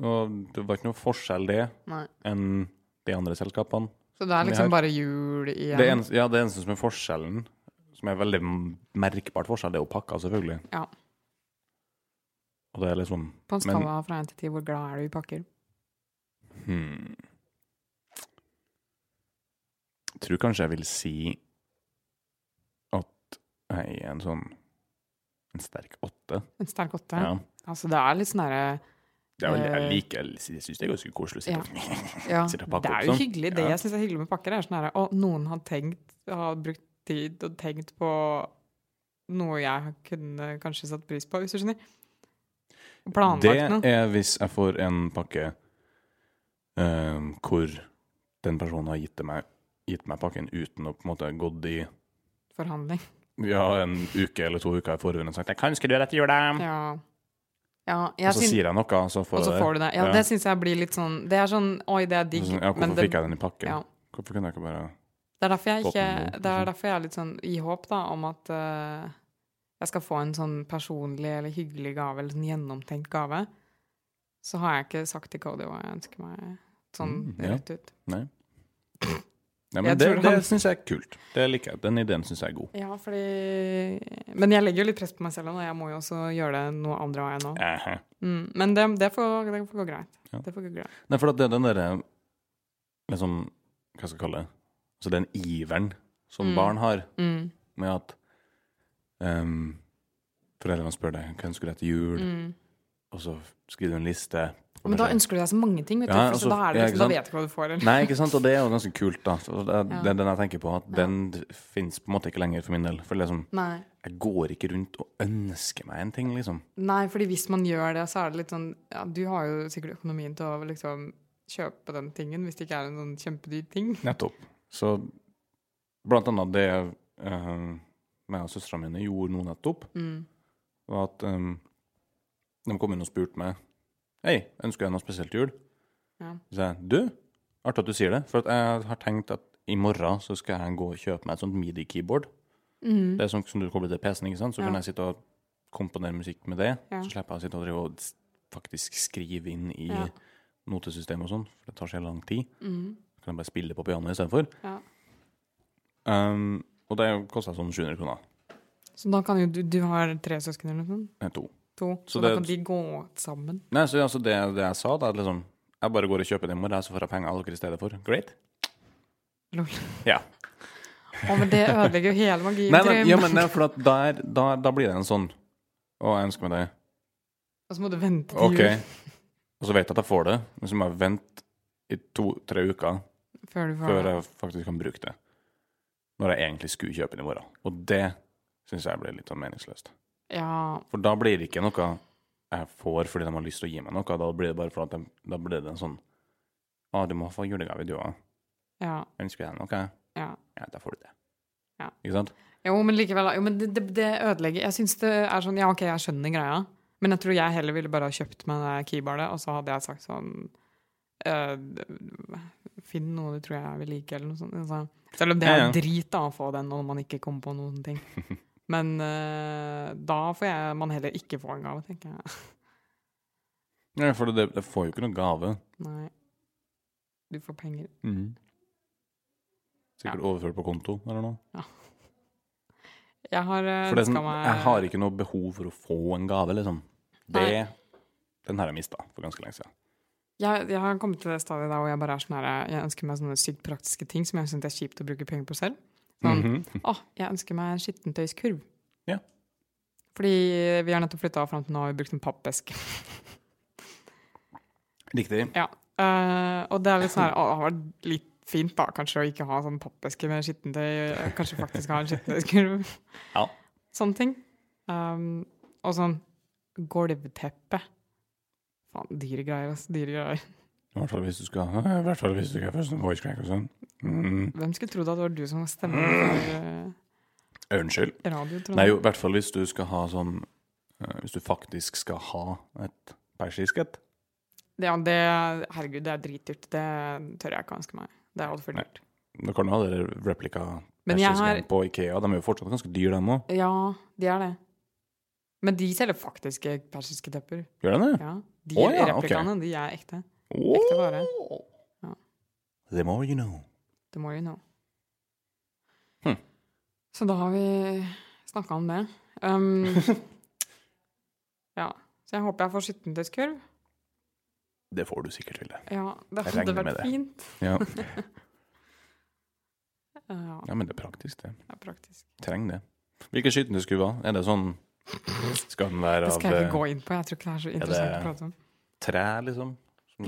Speaker 2: Og det var ikke noe forskjell det
Speaker 1: Nei.
Speaker 2: enn de andre selskapene.
Speaker 1: Så det
Speaker 2: Vi
Speaker 1: er liksom
Speaker 2: har-
Speaker 1: bare jul igjen?
Speaker 2: Det eneste, ja, det eneste som er forskjellen, som er veldig m- merkbart forskjell, det er jo pakka, selvfølgelig.
Speaker 1: Ja.
Speaker 2: Og det er liksom
Speaker 1: På en
Speaker 2: men-
Speaker 1: skala fra 1 til 10, hvor glad er du i pakker?
Speaker 2: hmm. Jeg tror kanskje jeg vil si at jeg er en sånn en sterk åtte.
Speaker 1: En sterk åtte?
Speaker 2: Ja.
Speaker 1: Altså, det er litt sånn herre
Speaker 2: Det er vel, jeg
Speaker 1: Eh,
Speaker 2: liker, jeg syns det er ganske koselig å sitte
Speaker 1: ja.
Speaker 2: og
Speaker 1: Ja,
Speaker 2: Sitter og pakker
Speaker 1: det er
Speaker 2: opp
Speaker 1: jo
Speaker 2: sånn.
Speaker 1: hyggelig. Det
Speaker 2: Ja.
Speaker 1: jeg syns er hyggelig med pakker, er sånn herre Å, noen har tenkt, har brukt tid og tenkt på noe jeg kunne kanskje satt pris på, hvis du skjønner. Planlagt noe.
Speaker 2: Det er hvis jeg får en pakke ehm, hvor den personen har gitt det meg, gitt meg pakken uten å på en måte gått i
Speaker 1: Forhandling.
Speaker 2: ja, en uke eller to uker i forhånd og sagt 'Jeg kan ønske du dette jula',
Speaker 1: Ja. ja
Speaker 2: Mm. og
Speaker 1: jeg
Speaker 2: så
Speaker 1: syn-
Speaker 2: sier jeg noe, og så
Speaker 1: og
Speaker 2: får
Speaker 1: så
Speaker 2: jeg det.
Speaker 1: får du det. Ja,
Speaker 2: Ja.
Speaker 1: det syns jeg blir litt sånn Det er sånn Oi, det er digg,
Speaker 2: Sånn, ja,
Speaker 1: men
Speaker 2: hvorfor
Speaker 1: det,
Speaker 2: fikk jeg den i pakken?
Speaker 1: ja.
Speaker 2: Hvorfor kunne jeg ikke bare
Speaker 1: Det er derfor jeg, ikke,
Speaker 2: Åpenbart,
Speaker 1: det er
Speaker 2: liksom.
Speaker 1: derfor jeg er litt sånn i håp da, om at eh, jeg skal få en sånn personlig eller hyggelig gave, eller sånn gjennomtenkt gave. Så har jeg ikke sagt til Cody hva jeg ønsker meg sånn
Speaker 2: Mm, ja.
Speaker 1: rett ut.
Speaker 2: Nei,
Speaker 1: Jeg
Speaker 2: men Det,
Speaker 1: tror
Speaker 2: det
Speaker 1: han-
Speaker 2: syns jeg er kult. Det liker jeg. Den ideen syns jeg er god.
Speaker 1: Ja, fordi Men jeg legger jo litt press på meg selv nå, jeg må jo også gjøre det noe andre har jeg nå.
Speaker 2: Ehe.
Speaker 1: Mm, men det, det, får, det får gå greit.
Speaker 2: Ja.
Speaker 1: Det får gå greit.
Speaker 2: Nei, for at det er den derre liksom, Hva skal jeg kalle det? Altså den iveren som
Speaker 1: Mm.
Speaker 2: barn har
Speaker 1: Mm,
Speaker 2: med at ehm, foreldrene spør deg hva ønsker du deg til jul,
Speaker 1: mm.
Speaker 2: og så skriver du en liste. og
Speaker 1: Men da
Speaker 2: kanskje-
Speaker 1: ønsker du deg så mange ting, vet du,
Speaker 2: Ja,
Speaker 1: for så
Speaker 2: altså,
Speaker 1: da, er det
Speaker 2: ja, ikke
Speaker 1: liksom, da
Speaker 2: sant?
Speaker 1: vet du ikke hva du får. Eller?
Speaker 2: Nei, ikke sant? Og det er jo ganske kult, da. Så det er
Speaker 1: Ja.
Speaker 2: det er den jeg tenker på, at
Speaker 1: Ja.
Speaker 2: den fins på en måte ikke lenger for min del. For liksom,
Speaker 1: Nei.
Speaker 2: jeg går ikke rundt og ønsker meg en ting, liksom.
Speaker 1: Nei, fordi hvis man gjør det, så er det litt sånn ja, Du har jo sikkert økonomien til å liksom kjøpe den tingen, hvis det ikke er en sånn kjempedyr ting.
Speaker 2: Nettopp. Så blant annet det uh, meg og søstera mine gjorde nå nettopp,
Speaker 1: Mm.
Speaker 2: var at ehm, de kom inn og spurte meg Hei, ønsker jeg noe spesielt til jul?
Speaker 1: Ja.
Speaker 2: Så sa jeg, du, artig at du sier det, for at jeg har tenkt at i morgen så skal jeg gå og kjøpe meg et sånt midi-keyboard.
Speaker 1: Mm.
Speaker 2: Det er sånn som du kobler til PC-en, ikke sant? Så
Speaker 1: Ja.
Speaker 2: kan jeg sitte og komponere musikk med det,
Speaker 1: Ja.
Speaker 2: så slipper jeg å sitte og drive og s- faktisk skrive inn i
Speaker 1: Ja.
Speaker 2: notesystemet og sånn, for det tar så jævlig lang tid.
Speaker 1: Mm.
Speaker 2: Så kan jeg bare spille på pianoet i stedet for.
Speaker 1: Ja.
Speaker 2: Um, og det koster sånn 700 kroner.
Speaker 1: Så da kan jo du Du har tre søsken eller noe sånt?
Speaker 2: Eh, To.
Speaker 1: To. Så,
Speaker 2: Så
Speaker 1: da
Speaker 2: det-
Speaker 1: kan de gå sammen.
Speaker 2: Nei, så altså det, det jeg sa, da, at liksom Jeg bare går og kjøper det i morgen, så får jeg penger av dere i stedet for. Great.
Speaker 1: Lol.
Speaker 2: Ja.
Speaker 1: Å, men det ødelegger jo hele magien.
Speaker 2: Nei, nei,
Speaker 1: Trym.
Speaker 2: ja, men det er for at der, da, da blir det en sånn Å, jeg ønsker meg det.
Speaker 1: Og så må du vente til
Speaker 2: OK. Og så vet jeg at jeg får det, men så må jeg vente i to-tre uker
Speaker 1: jul før du får
Speaker 2: før jeg faktisk kan bruke det. Når jeg egentlig skulle kjøpe det i morgen. Og det syns jeg blir litt sånn meningsløst.
Speaker 1: Ja.
Speaker 2: For da blir det ikke noe jeg får fordi de har lyst til å gi meg noe. Da blir det bare for at de, da blir det en sånn Å, du må få julegave, du òg.
Speaker 1: Ja.
Speaker 2: Ønsker jeg noe?
Speaker 1: ja.
Speaker 2: Ja, da får du det.
Speaker 1: Ja.
Speaker 2: Ikke sant?
Speaker 1: Jo, men likevel da. Jo, men det, det, det ødelegger Jeg syns det er sånn Ja, OK, jeg skjønner greia, men jeg tror jeg heller ville bare ha kjøpt meg det keyboardet, og så hadde jeg sagt sånn eh, Finn noe du tror jeg vil like, eller noe sånt. Altså, selv om det er
Speaker 2: Ja, ja.
Speaker 1: drit da, å få den når man ikke kommer på noen ting. Men eh, da får jeg, man heller ikke få en gave, tenker jeg.
Speaker 2: Ja, for det, det får jo ikke noe gave.
Speaker 1: Nei. Du får penger.
Speaker 2: Sikkert overført på konto eller noe.
Speaker 1: Jeg har
Speaker 2: For det er
Speaker 1: ønska
Speaker 2: sånn,
Speaker 1: meg
Speaker 2: jeg har ikke noe behov for å få en gave, liksom. Det, den her har jeg mista for ganske lenge siden.
Speaker 1: Jeg, jeg har kommet til det stadiet der hvor jeg bare er sånn her Jeg ønsker meg sånne sykt praktiske ting som jeg syns er kjipt å bruke penger på selv. Sånn, Å, jeg ønsker meg en skittentøyskurv.
Speaker 2: Mhm. Ja.
Speaker 1: Fordi vi har nettopp flytta fram til nå, har vi brukt en pappeske.
Speaker 2: Riktig.
Speaker 1: Ja, eh, og det er litt sånn her, å, det har vært litt fint da, kanskje å ikke ha sånn pappeske med skittentøy, eh, kanskje faktisk ha en skittentøyskurv.
Speaker 2: Ja.
Speaker 1: Sånne ting. Um, og sånn gulvteppe. Faen, dyre greier, altså, dyre greier.
Speaker 2: I hvert fall hvis du skal I hvert fall hvis du skal først en voice crack og sånn. Mm.
Speaker 1: Hvem skulle trodd at det var du som var stemmen for eh,
Speaker 2: Unnskyld.
Speaker 1: radio, tror
Speaker 2: Nei,
Speaker 1: jeg.
Speaker 2: jo, i hvert fall hvis du skal ha sånn eh, Hvis du faktisk skal ha et persisk et.
Speaker 1: Ja, det, herregud, det er dritdyrt. Det tør jeg ikke ønske meg. Det er altfor
Speaker 2: Nei.
Speaker 1: dyrt.
Speaker 2: Du kan jo ha det
Speaker 1: Men jeg
Speaker 2: replika-persiske
Speaker 1: har-
Speaker 2: på Ikea. De er jo fortsatt ganske dyre, de òg.
Speaker 1: Ja, de er det. Men de selger faktiske persiske tepper.
Speaker 2: Gjør de det?
Speaker 1: Ja. De
Speaker 2: Å, ja, ok.
Speaker 1: replikene, de er ekte.
Speaker 2: Ekte
Speaker 1: vare. Ja.
Speaker 2: The more you know.
Speaker 1: The more you know.
Speaker 2: Hm.
Speaker 1: Så da har vi snakka om det. Um, ja. Så jeg håper jeg får skittentøyskurv.
Speaker 2: Det får du sikkert til. det.
Speaker 1: Ja, det
Speaker 2: Jeg
Speaker 1: hadde
Speaker 2: regner med
Speaker 1: vært
Speaker 2: det.
Speaker 1: fint.
Speaker 2: Ja.
Speaker 1: Ja,
Speaker 2: ja, men det er praktisk, det.
Speaker 1: det er praktisk.
Speaker 2: Trenger det. Hvilken skytende skulle ha? Er det sånn Skal den være
Speaker 1: Det
Speaker 2: av
Speaker 1: skal jeg
Speaker 2: eh,
Speaker 1: ikke gå inn på. Jeg tror ikke det er så interessant å prate om.
Speaker 2: tre, liksom? Som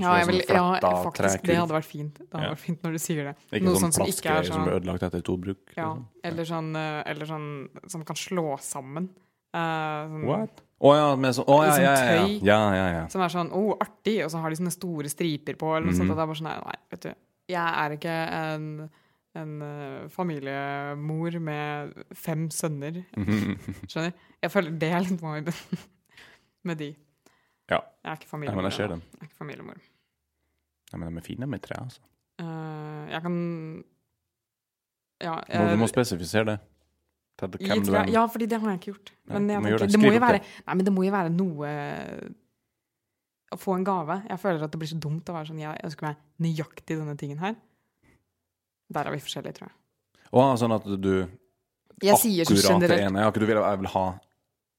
Speaker 1: Ja,
Speaker 2: slår
Speaker 1: jeg vil,
Speaker 2: sånn
Speaker 1: ja
Speaker 2: fletta
Speaker 1: faktisk. Det
Speaker 2: trekurv?
Speaker 1: hadde vært fint. Det hadde
Speaker 2: Ja.
Speaker 1: vært fint når du sier det.
Speaker 2: Ikke
Speaker 1: noe
Speaker 2: sånn
Speaker 1: sånt som ikke er
Speaker 2: plastgreier som
Speaker 1: sånn-
Speaker 2: blir ødelagt etter to bruk?
Speaker 1: Ja,
Speaker 2: liksom.
Speaker 1: eller sånn, eh, eller sånn som kan slå sammen. Eh, sånn,
Speaker 2: What? Å ja, med sånn Å ja,
Speaker 1: Sånn
Speaker 2: ja, ja.
Speaker 1: tøy.
Speaker 2: ja, ja, ja.
Speaker 1: Som er sånn 'Å, oh, artig', og så har de sånne store striper på. Eller noe
Speaker 2: Mhm.
Speaker 1: sånt, og det er bare sånn Nei, nei, vet du. Jeg er ikke en, en eh, familiemor med fem sønner. Skjønner? Jeg føler det er litt viben med de.
Speaker 2: Ja.
Speaker 1: Jeg er ikke
Speaker 2: ja. Men
Speaker 1: familiemor.
Speaker 2: jeg
Speaker 1: da.
Speaker 2: ser den.
Speaker 1: Jeg er ikke familiemor.
Speaker 2: Ja, men de er fine med tre, altså.
Speaker 1: Eh, jeg kan Ja.
Speaker 2: Må,
Speaker 1: eh,
Speaker 2: du må spesifisere det. Til
Speaker 1: i
Speaker 2: hvem du
Speaker 1: tre-
Speaker 2: er.
Speaker 1: Ja, fordi det har jeg ikke gjort.
Speaker 2: Nei,
Speaker 1: Men
Speaker 2: du
Speaker 1: jeg
Speaker 2: må
Speaker 1: tenker,
Speaker 2: gjøre det.
Speaker 1: det må
Speaker 2: Skriv
Speaker 1: jo
Speaker 2: opp
Speaker 1: være
Speaker 2: det.
Speaker 1: Nei, men det må jo være noe eh, Å få en gave. Jeg føler at det blir så dumt å være sånn Jeg ønsker meg nøyaktig denne tingen her. Der er vi forskjellige, tror jeg.
Speaker 2: Å, sånn at du
Speaker 1: Jeg sier så
Speaker 2: akkurat det
Speaker 1: generelt
Speaker 2: ene. Ja, ikke du vil, jeg vil ha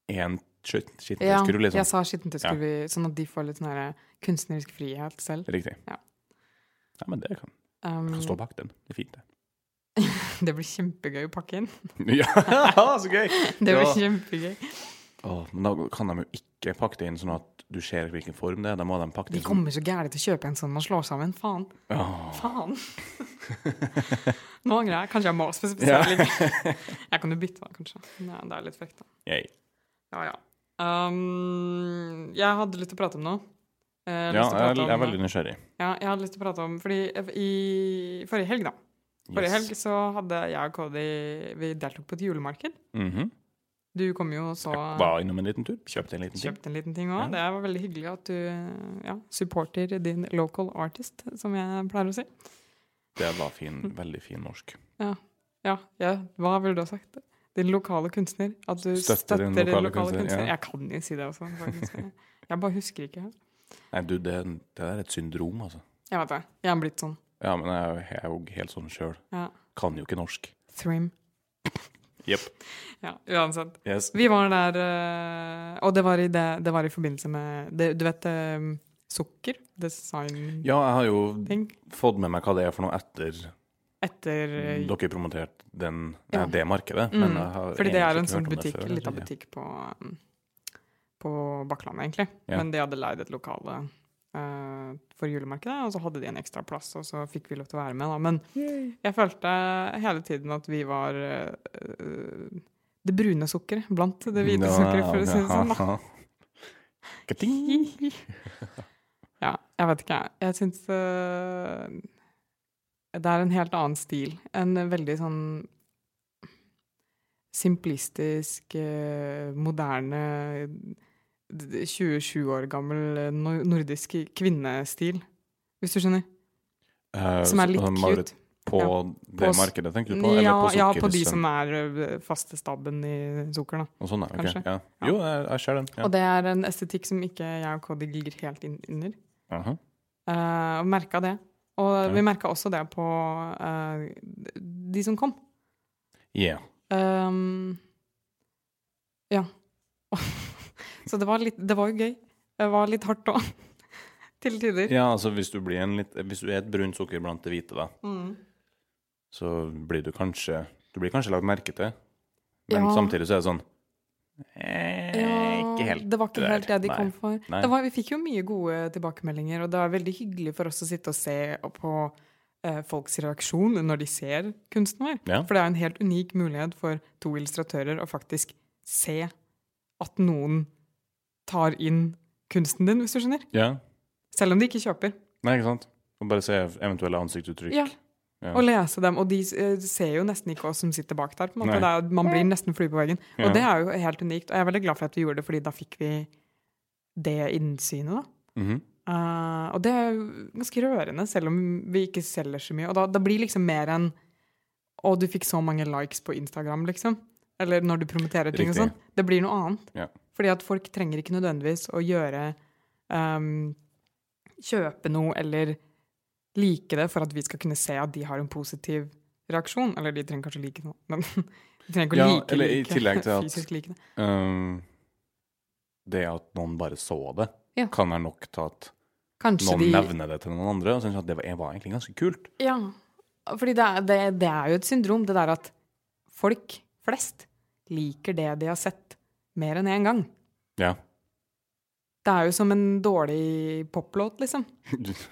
Speaker 2: én skitten
Speaker 1: ja,
Speaker 2: skru, liksom.
Speaker 1: Jeg sa skittentøyskurv, sånn at de får litt sånn her kunstnerisk frihet selv.
Speaker 2: Riktig.
Speaker 1: Ja.
Speaker 2: Ja, men det kan,
Speaker 1: Um,
Speaker 2: jeg kan stå bak den. Det er fint, det.
Speaker 1: det blir kjempegøy å pakke inn.
Speaker 2: ja, så gøy!
Speaker 1: Det blir
Speaker 2: Ja.
Speaker 1: kjempegøy.
Speaker 2: Å, men da kan de jo ikke pakke det inn sånn at du ser hvilken form det er. Da må de pakke det
Speaker 1: De
Speaker 2: inn sånn-
Speaker 1: kommer så gærent til å kjøpe en sånn man slår sammen. Faen.
Speaker 2: Åh.
Speaker 1: Faen. Nå angrer jeg. Kanskje jeg må
Speaker 2: Ja.
Speaker 1: spesifisere litt. Jeg kan jo bytte, da, kanskje. Nei, det er litt frekt, da.
Speaker 2: Yay.
Speaker 1: Ja, ja. Um, jeg hadde lyst til å prate om noe. Eh, Jeg
Speaker 2: Ja,
Speaker 1: har lyst til å
Speaker 2: jeg,
Speaker 1: prate
Speaker 2: jeg er
Speaker 1: om-
Speaker 2: veldig nysgjerrig.
Speaker 1: Ja, jeg hadde lyst til å prate om Fordi i forrige helg, da. Forrige helg
Speaker 2: Yes.
Speaker 1: så hadde jeg og Cody Vi deltok på et julemarked.
Speaker 2: Mhm.
Speaker 1: Du kom jo og så
Speaker 2: Jeg var innom en liten tur. Kjøpte en liten ting.
Speaker 1: Kjøpte en liten ting òg. Det var veldig hyggelig at du ja, supporter din local artist, som jeg pleier å si.
Speaker 2: Det var fin, veldig fin norsk.
Speaker 1: Ja, ja hva ville du ha sagt? Din lokale kunstner. At du
Speaker 2: Støtter
Speaker 1: støtter,
Speaker 2: din
Speaker 1: din
Speaker 2: lokale
Speaker 1: lokale,
Speaker 2: kunstner,
Speaker 1: kunstner.
Speaker 2: ja.
Speaker 1: Jeg kan jo si det også, faktisk. Jeg bare husker ikke.
Speaker 2: Nei, du, det, det der er et syndrom, altså.
Speaker 1: Jeg vet det. Jeg har blitt sånn.
Speaker 2: Ja, men jeg, er jo- jeg er jo helt sånn sjøl.
Speaker 1: Ja.
Speaker 2: Kan jo ikke norsk.
Speaker 1: Thrim.
Speaker 2: Jepp.
Speaker 1: Ja, uansett.
Speaker 2: Yes.
Speaker 1: Vi var der, eh, og det var i, det, det var i forbindelse med det, Du vet eh, sukker? Design-ting?
Speaker 2: Ja, jeg har jo fått med meg hva det er for noe etter
Speaker 1: Etter eh,
Speaker 2: dere promoterte den,
Speaker 1: Ja.
Speaker 2: nei, det markedet.
Speaker 1: Mm,
Speaker 2: Men jeg har
Speaker 1: Fordi det
Speaker 2: egentlig
Speaker 1: er en
Speaker 2: ikke hørt
Speaker 1: sånn
Speaker 2: om det
Speaker 1: butikk,
Speaker 2: før, altså.
Speaker 1: lita
Speaker 2: så-
Speaker 1: butikk på, mm, på Bakklandet, egentlig.
Speaker 2: Ja.
Speaker 1: Men de hadde leid et lokale eh, for julemarkedet, og så hadde de en ekstra plass, og så fikk vi lov til å være med, da. Men jeg følte hele tiden at vi var eh, eh, det brune sukkeret blant det hvite sukkeret, for å si det sånn. da.
Speaker 2: Ja. Ka-ting.
Speaker 1: ja, jeg vet ikke. jeg. Jeg syns øh, det er en helt annen stil. En veldig sånn simplistisk, øh, moderne d- d- 27 år gammel øh, nor- nordisk kvinnestil, hvis du skjønner.
Speaker 2: Eh,
Speaker 1: Som er
Speaker 2: så-
Speaker 1: litt
Speaker 2: Marit,
Speaker 1: cute.
Speaker 2: På
Speaker 1: Ja.
Speaker 2: det
Speaker 1: På s-
Speaker 2: markedet, tenker du på? Eller
Speaker 1: Ja,
Speaker 2: på liksom.
Speaker 1: ja, på de
Speaker 2: sukkersøm-
Speaker 1: som er øh, faste stabben i sukker, da.
Speaker 2: Og sånn, ja, ok,
Speaker 1: kanskje.
Speaker 2: Ja.
Speaker 1: Ja.
Speaker 2: Jo, jeg, jeg ser den. Ja.
Speaker 1: Og det er en estetikk som ikke jeg og Cody ligger helt inn under.
Speaker 2: Aha.
Speaker 1: Eh, og merka det. Og
Speaker 2: Ja.
Speaker 1: vi merka også det på eh, de som kom.
Speaker 2: Yeah.
Speaker 1: Ehm, ja. Så det var, litt, det var jo gøy. Det var litt hardt òg. til tider.
Speaker 2: Ja, altså hvis du, blir en litt, hvis du er et brunt sukker blant det hvite, da,
Speaker 1: Mm.
Speaker 2: så blir du kanskje Du blir kanskje lagt merke til, men
Speaker 1: Ja.
Speaker 2: samtidig så er det sånn eh, Ikke helt.
Speaker 1: det var ikke
Speaker 2: der.
Speaker 1: helt det de
Speaker 2: Nei.
Speaker 1: kom for.
Speaker 2: Nei.
Speaker 1: Det var, vi fikk jo mye gode tilbakemeldinger, og det var veldig hyggelig for oss å sitte og se på eh, folks reaksjon når de ser kunsten vår.
Speaker 2: Ja.
Speaker 1: For det er jo en helt unik mulighet for to illustratører å faktisk se at noen tar inn kunsten din, hvis du skjønner.
Speaker 2: Ja.
Speaker 1: Selv om de ikke kjøper.
Speaker 2: Nei, ikke sant? Og bare se eventuelle ansiktsuttrykk.
Speaker 1: Ja.
Speaker 2: Ja.
Speaker 1: Og lese dem. Og de eh, ser jo nesten ikke oss som sitter bak der. på en måte.
Speaker 2: Nei.
Speaker 1: Det er, man blir nesten flue på veggen. Og
Speaker 2: Ja.
Speaker 1: det er jo helt unikt. Og jeg er veldig glad for at vi gjorde det, fordi da fikk vi det innsynet, da.
Speaker 2: Mhm.
Speaker 1: Eh, og det er jo ganske rørende, selv om vi ikke selger så mye. Og da, da blir liksom mer enn Å, du fikk så mange likes på Instagram, liksom. Eller når du promoterer ting og
Speaker 2: Riktig.
Speaker 1: sånn. Det blir noe annet.
Speaker 2: Ja.
Speaker 1: Fordi at folk trenger ikke nødvendigvis å gjøre ehm, Kjøpe noe eller like det for at vi skal kunne se at de har en positiv reaksjon. Eller de trenger kanskje like noe, men de trenger ikke å
Speaker 2: Ja,
Speaker 1: like,
Speaker 2: eller i
Speaker 1: like,
Speaker 2: tillegg til at-
Speaker 1: fysisk like det.
Speaker 2: Um, det at noen bare så det,
Speaker 1: Ja.
Speaker 2: kan være nok til at
Speaker 1: Kanskje
Speaker 2: noen
Speaker 1: de
Speaker 2: nevner det til noen andre og synes at det var, var egentlig ganske kult.
Speaker 1: Ja, fordi det er, det, det er jo et syndrom, det der at folk flest liker det de har sett mer enn én gang.
Speaker 2: Ja.
Speaker 1: Det er jo som en dårlig poplåt, liksom.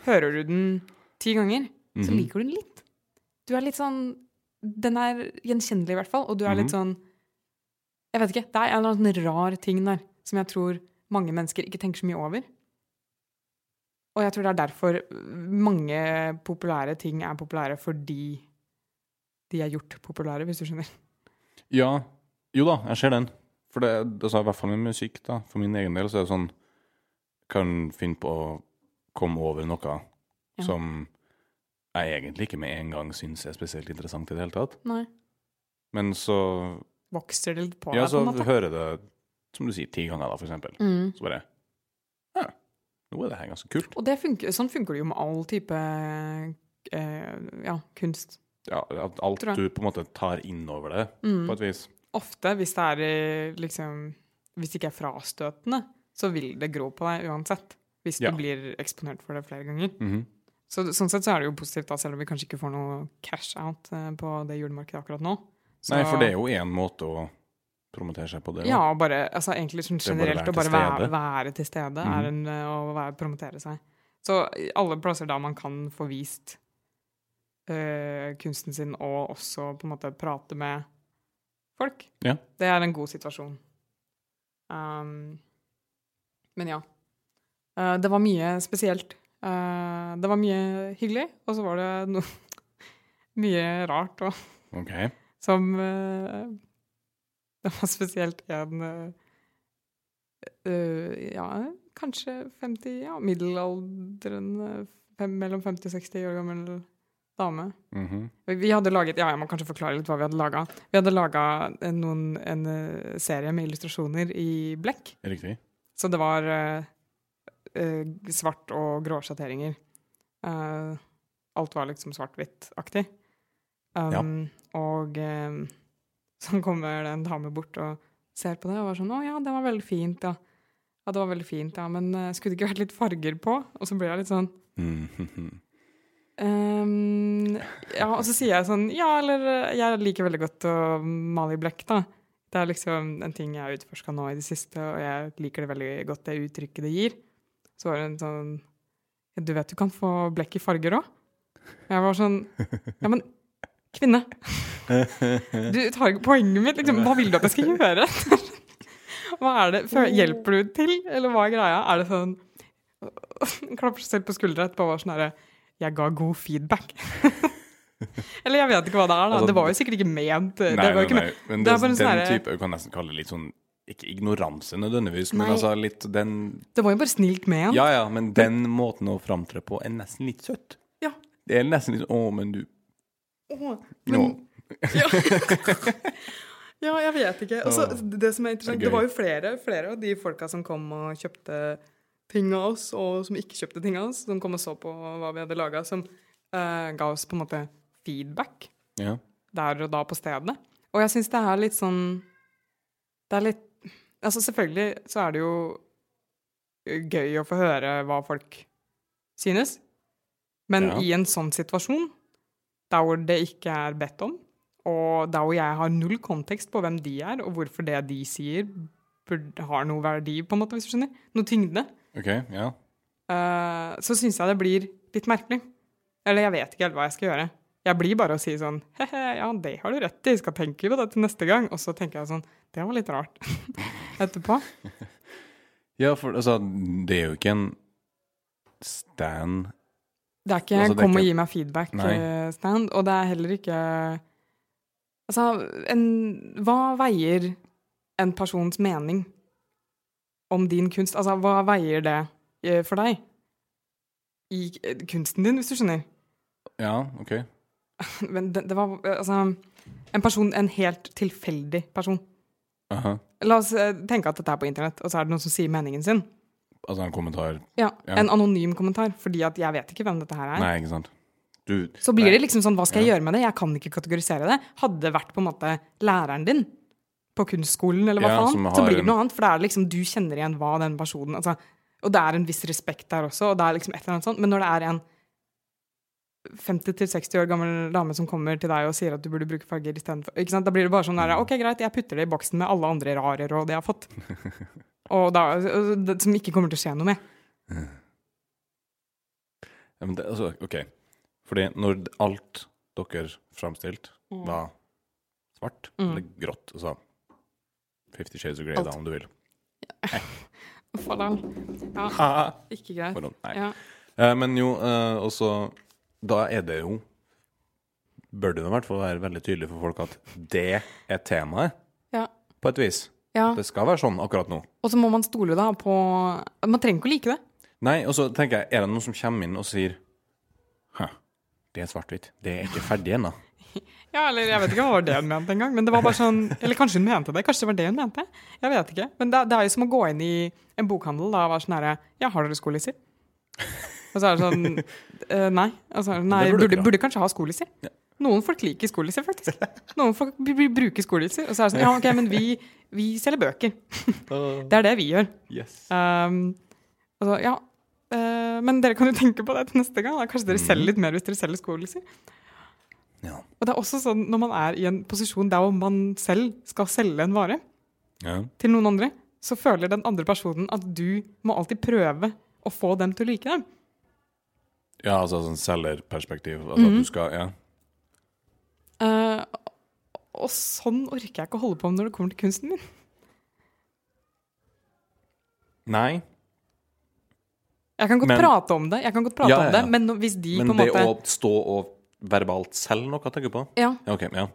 Speaker 1: Hører du den ti ganger, så
Speaker 2: Mhm.
Speaker 1: liker du den litt. Du er litt sånn Den er gjenkjennelig, i hvert fall, og du er litt
Speaker 2: Mhm.
Speaker 1: sånn Jeg vet ikke. Det er en eller annen rar ting der som jeg tror mange mennesker ikke tenker så mye over. Og jeg tror det er derfor mange populære ting er populære fordi de er gjort populære, hvis du skjønner.
Speaker 2: Ja. Jo da, jeg ser den. For det, altså, i hvert fall med musikk, da. For min egen del så er det sånn Kan finne på å komme over noe
Speaker 1: Ja.
Speaker 2: som jeg egentlig ikke med en gang syns er spesielt interessant i det hele tatt.
Speaker 1: Nei.
Speaker 2: Men så
Speaker 1: Vokser det litt på
Speaker 2: Ja,
Speaker 1: deg,
Speaker 2: så
Speaker 1: på en måte.
Speaker 2: hører jeg det, som du sier, ti ganger, da, for eksempel.
Speaker 1: Mm.
Speaker 2: Så bare Ja, nå er det her ganske kult.
Speaker 1: Og det funker, sånn funker det jo med all type eh, ja, kunst.
Speaker 2: Ja, at alt
Speaker 1: Tror jeg.
Speaker 2: du på en måte tar innover det,
Speaker 1: Mm.
Speaker 2: på et vis.
Speaker 1: Ofte, hvis det er eh, liksom Hvis det ikke er frastøtende, så vil det gro på deg uansett. Hvis
Speaker 2: Ja.
Speaker 1: du blir eksponert for det flere ganger.
Speaker 2: Mhm.
Speaker 1: Så, sånn sett så er det jo positivt, da, selv om vi kanskje ikke får noe cash out eh, på det julemarkedet akkurat nå. Så,
Speaker 2: Nei, for det er jo én måte å promotere seg på det. da.
Speaker 1: Ja, og bare, altså, egentlig sånn
Speaker 2: Det er bare å
Speaker 1: generelt å bare
Speaker 2: være
Speaker 1: være,
Speaker 2: til Mm.
Speaker 1: være til stede er en, eh, å være, promotere seg. Så i alle plasser da man kan få vist eh, kunsten sin, og også på en måte prate med folk,
Speaker 2: Ja.
Speaker 1: det er en god situasjon. Um, men ja. Eh, det var mye spesielt. Eh, det var mye hyggelig, og så var det no mye rart og
Speaker 2: Ok.
Speaker 1: som eh, Det var spesielt en eh, eh, Ja, kanskje 50 Ja, middelaldrende fem, mellom 50 og 60 år gammel dame.
Speaker 2: Mhm.
Speaker 1: Vi vi hadde laget, ja, Jeg må kanskje forklare litt hva vi hadde laga. Vi hadde laga en eh, serie med illustrasjoner i blekk.
Speaker 2: Riktig.
Speaker 1: Så det var eh, eh, svart og grå sjatteringer. Eh, alt var liksom svart-hvitt-aktig. Um, Og eh, så kommer det en dame bort og ser på det og var sånn 'Å ja, det var veldig fint, ja'. Ja, det var veldig fint, ja, men eh, skulle det ikke vært litt farger på? Og så blir jeg litt sånn
Speaker 2: Mhm.
Speaker 1: ehm, Ja, og så sier jeg sånn Ja, eller eh, jeg liker veldig godt å male i blekk, da. Det er liksom en ting jeg har utforska nå i det siste, og jeg liker det veldig godt, det uttrykket det gir. Så var det en sånn «Ja, Du vet du kan få blekk i farger òg? Jeg var sånn Ja, men kvinne! Du tar ikke poenget mitt, liksom. Hva vil du at jeg skal gjøre? Hva er det? Fø- Hjelper du til, eller hva er greia? Er det sånn Klapper seg selv på skuldra etterpå og var sånn herre Jeg ga god feedback. eller jeg vet ikke hva det er, da.
Speaker 2: Altså,
Speaker 1: det var jo sikkert ikke ment.
Speaker 2: Nei,
Speaker 1: det var jo
Speaker 2: nei,
Speaker 1: ikke
Speaker 2: nei.
Speaker 1: Det
Speaker 2: Men det,
Speaker 1: er bare en sånn
Speaker 2: den
Speaker 1: herre-
Speaker 2: type, vi kan nesten kalle det litt sånn ikke ignoranse nødvendigvis, men
Speaker 1: Nei.
Speaker 2: altså litt den
Speaker 1: Det var jo bare snilt ment.
Speaker 2: Ja ja, men den måten å framtre på er nesten litt søtt.
Speaker 1: Ja.
Speaker 2: Det er nesten litt Å, men du
Speaker 1: Åh,
Speaker 2: Nå.
Speaker 1: men- ja. ja, jeg vet ikke. Og så
Speaker 2: Åh,
Speaker 1: det som er interessant,
Speaker 2: det er
Speaker 1: det
Speaker 2: gøy.
Speaker 1: var jo flere, flere av de folka som kom og kjøpte ting av oss, og som ikke kjøpte ting av oss, som kom og så på hva vi hadde laga, som eh, ga oss på en måte feedback
Speaker 2: Ja.
Speaker 1: der og da på stedet. Og jeg syns det er litt sånn Det er litt Altså, selvfølgelig så er det jo gøy å få høre hva folk synes. Men
Speaker 2: Ja.
Speaker 1: i en sånn situasjon, der hvor det ikke er bedt om, og der hvor jeg har null kontekst på hvem de er, og hvorfor det de sier, burde, har noe verdi, på en måte, hvis du skjønner, noe tyngde,
Speaker 2: OK, ja.
Speaker 1: eh, så syns jeg det blir litt merkelig. Eller jeg vet ikke helt hva jeg skal gjøre. Jeg blir bare å si sånn He-he, ja, det har du rett i, skal tenke på det til neste gang. Og så tenker jeg sånn Det var litt rart. Etterpå.
Speaker 2: Ja, for altså, det er jo ikke en stand
Speaker 1: Det er ikke
Speaker 2: Altså, det er
Speaker 1: 'kom og
Speaker 2: ikke-
Speaker 1: gi meg
Speaker 2: Nei.
Speaker 1: feedback'-stand, og det er heller ikke Altså, en, hva veier en persons mening om din kunst? Altså, hva veier det eh, for deg? I eh, kunsten din, hvis du skjønner.
Speaker 2: Ja, OK.
Speaker 1: Men det, det var eh, altså En person, en helt tilfeldig person.
Speaker 2: Aha.
Speaker 1: La oss eh, tenke at dette er på internett, og så er det noen som sier meningen sin.
Speaker 2: Altså en kommentar
Speaker 1: Ja,
Speaker 2: Ja.
Speaker 1: En anonym kommentar, fordi at jeg vet ikke hvem dette her er.
Speaker 2: Nei, ikke sant. Du
Speaker 1: Så blir
Speaker 2: Nei.
Speaker 1: det liksom sånn, hva skal jeg gjøre med det? Jeg kan ikke kategorisere det. Hadde det vært på en måte læreren din på kunstskolen, eller hva
Speaker 2: Ja, som
Speaker 1: faen, så
Speaker 2: har
Speaker 1: blir det
Speaker 2: en-
Speaker 1: noe annet. For det er liksom, du kjenner igjen hva den personen altså, Og det er en viss respekt der også, og det er liksom et eller annet sånt. Men når det er en 50-60 år gammel dame som kommer til deg og sier at du burde bruke farger istedenfor ikke sant? Da blir det bare sånn
Speaker 2: Mm.
Speaker 1: der OK, greit, jeg putter det i boksen med alle andre rare råd jeg har fått. Og da, og det, som ikke kommer til å skje noe med.
Speaker 2: Ja, men det, altså, OK. Fordi når alt dere framstilte, var svart
Speaker 1: Mm.
Speaker 2: eller grått altså, Fifty Shades of Grey, da,
Speaker 1: Alt.
Speaker 2: om du vil.
Speaker 1: Faen, Ja,
Speaker 2: Ah,
Speaker 1: ikke greit.
Speaker 2: for noen- nei.
Speaker 1: Ja.
Speaker 2: Eh, men jo, eh, også Da er det jo Bør det i hvert fall være veldig tydelig for folk at det er temaet,
Speaker 1: Ja.
Speaker 2: på et vis.
Speaker 1: ja.
Speaker 2: Det skal være sånn akkurat nå.
Speaker 1: Og så må man stole da på Man trenger ikke å like det.
Speaker 2: Nei, og så tenker jeg, er det noen som kommer inn og sier Hæ, det er svart-hvitt. Det er ikke ferdig ennå.
Speaker 1: Ja, eller jeg vet ikke hva var det hun mente engang. Men det var bare sånn Eller kanskje hun mente det. Kanskje det var det hun mente. Jeg vet ikke. Men det, det er jo som å gå inn i en bokhandel da, og være sånn herre Ja, har dere skolisser? Og så er det sånn eh, Nei. Og så er det, nei
Speaker 2: Det burde
Speaker 1: burde,
Speaker 2: dere
Speaker 1: burde,
Speaker 2: ha.
Speaker 1: kanskje ha skolisser. Noen folk liker skolisser, faktisk. Noen folk b- b- bruker skolisser. Og så er det sånn Ja, OK, men vi, vi selger bøker. Det er det vi gjør.
Speaker 2: Yes.
Speaker 1: Um, altså, ja. eh, men dere kan jo tenke på det til neste gang. Da. Kanskje dere
Speaker 2: Mhm.
Speaker 1: selger litt mer hvis dere selger skolisser.
Speaker 2: Ja.
Speaker 1: Og det er også sånn når man er i en posisjon der hvor man selv skal selge en vare
Speaker 2: ja.
Speaker 1: til noen andre, så føler den andre personen at du må alltid prøve å få dem til å like dem.
Speaker 2: Ja, altså sånn selgerperspektiv. Altså
Speaker 1: Mhm.
Speaker 2: at du skal Ja.
Speaker 1: Eh, og sånn orker jeg ikke å holde på med når det kommer til kunsten min.
Speaker 2: Nei.
Speaker 1: Jeg kan godt
Speaker 2: Men-
Speaker 1: prate om det, jeg kan godt prate
Speaker 2: Ja, ja,
Speaker 1: om det,
Speaker 2: ja.
Speaker 1: men no- hvis de
Speaker 2: Men
Speaker 1: på en
Speaker 2: det
Speaker 1: måte
Speaker 2: å stå og verbalt selge noe, tenker jeg på.
Speaker 1: ja,
Speaker 2: Ja, OK. Ja.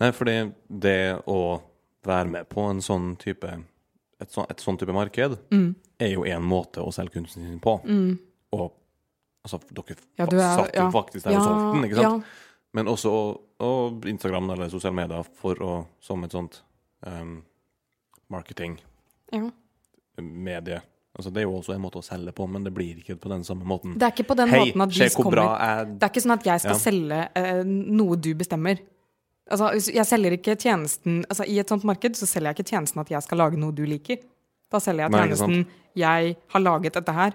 Speaker 2: Nei, fordi det å være med på en sånn type et sånn, et sånn type marked
Speaker 1: Mm.
Speaker 2: er jo en måte å selge kunsten sin på. Og altså, dere
Speaker 1: Ja, du er-
Speaker 2: satt jo
Speaker 1: ja.
Speaker 2: faktisk der og solgte den, ikke sant? Men også og Instagram eller sosiale medier for å, som et sånt um, marketing-medie.
Speaker 1: Ja, ja.
Speaker 2: Altså, det er jo også en måte å selge på, men det blir ikke på den samme måten.
Speaker 1: Det er ikke på den
Speaker 2: Hei,
Speaker 1: måten at
Speaker 2: se
Speaker 1: de
Speaker 2: hvor
Speaker 1: kommer
Speaker 2: bra jeg
Speaker 1: Det er ikke sånn at jeg skal
Speaker 2: Ja.
Speaker 1: selge eh, noe du bestemmer. Altså, hvis- jeg selger ikke tjenesten altså, I et sånt marked så selger jeg ikke tjenesten at jeg skal lage noe du liker. Da selger jeg
Speaker 2: Nei, ikke
Speaker 1: tjenesten
Speaker 2: sant.
Speaker 1: 'jeg har laget dette her,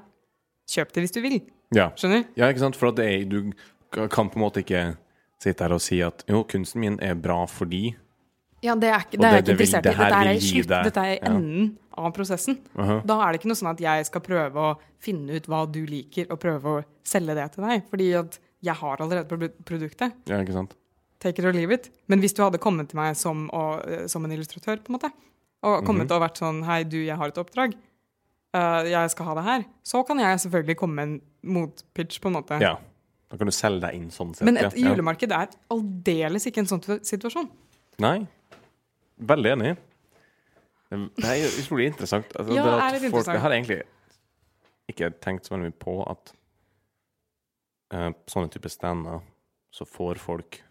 Speaker 1: kjøp det hvis du vil'.
Speaker 2: ja.
Speaker 1: Skjønner?
Speaker 2: ja, ikke sant? For at det er, du k- kan på en måte ikke sitte her og si at jo, kunsten min er bra fordi
Speaker 1: Ja, det er, ikke-
Speaker 2: Og
Speaker 1: det er jeg
Speaker 2: det-
Speaker 1: ikke
Speaker 2: det vil-
Speaker 1: interessert i.
Speaker 2: det her
Speaker 1: Dette er,
Speaker 2: vil
Speaker 1: i
Speaker 2: gi
Speaker 1: slutt,
Speaker 2: deg-
Speaker 1: dette er i
Speaker 2: ja.
Speaker 1: enden av prosessen.
Speaker 2: Aha.
Speaker 1: Da er det ikke noe sånn at jeg skal prøve å finne ut hva du liker, og prøve å selge det til deg. Fordi at jeg har allerede produ- produktet.
Speaker 2: Ja, ikke sant?
Speaker 1: take it or leave it. Men hvis du hadde kommet til meg som, å- eh, som en illustratør, på en måte,
Speaker 2: Mhm.
Speaker 1: og kommet og vært sånn Hei, du, jeg har et oppdrag. Eh, jeg skal ha det her. Så kan jeg selvfølgelig komme med en motpitch, på en måte.
Speaker 2: Ja. Da kan du selge deg inn sånn sett.
Speaker 1: Men et
Speaker 2: ja. Ja.
Speaker 1: julemarked er aldeles ikke en sånn tu- situasjon.
Speaker 2: Nei. Veldig enig. Det er utrolig interessant. Altså,
Speaker 1: Ja, det
Speaker 2: det at
Speaker 1: er litt
Speaker 2: folk,
Speaker 1: interessant.
Speaker 2: Jeg har egentlig ikke tenkt så veldig mye på at eh, på sånne typer stander så får folk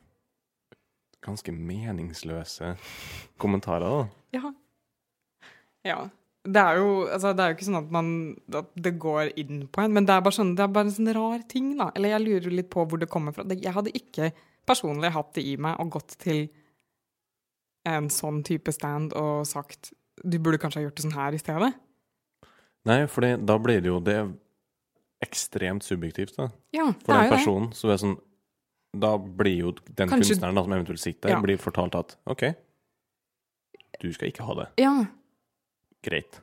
Speaker 2: ganske meningsløse kommentarer. da.
Speaker 1: Ja. ja. Det er jo altså, det er jo ikke sånn at, man, at det går inn på en, men det er bare, sånn, det er bare en sånn rar ting, da. Eller jeg lurer litt på hvor det kommer fra. Det- Jeg hadde ikke personlig hatt det i meg og gått til en sånn type stand og sagt du burde kanskje ha gjort det sånn her i stedet.
Speaker 2: Nei, for da blir det jo det ekstremt subjektivt da,
Speaker 1: Ja,
Speaker 2: for
Speaker 1: det er
Speaker 2: den
Speaker 1: jo det.
Speaker 2: personen. Så det er sånn, da blir jo den
Speaker 1: Kanskje-
Speaker 2: kunstneren da, som eventuelt sitter der,
Speaker 1: Ja.
Speaker 2: blir fortalt at OK, du skal ikke ha det.
Speaker 1: Ja,
Speaker 2: Greit.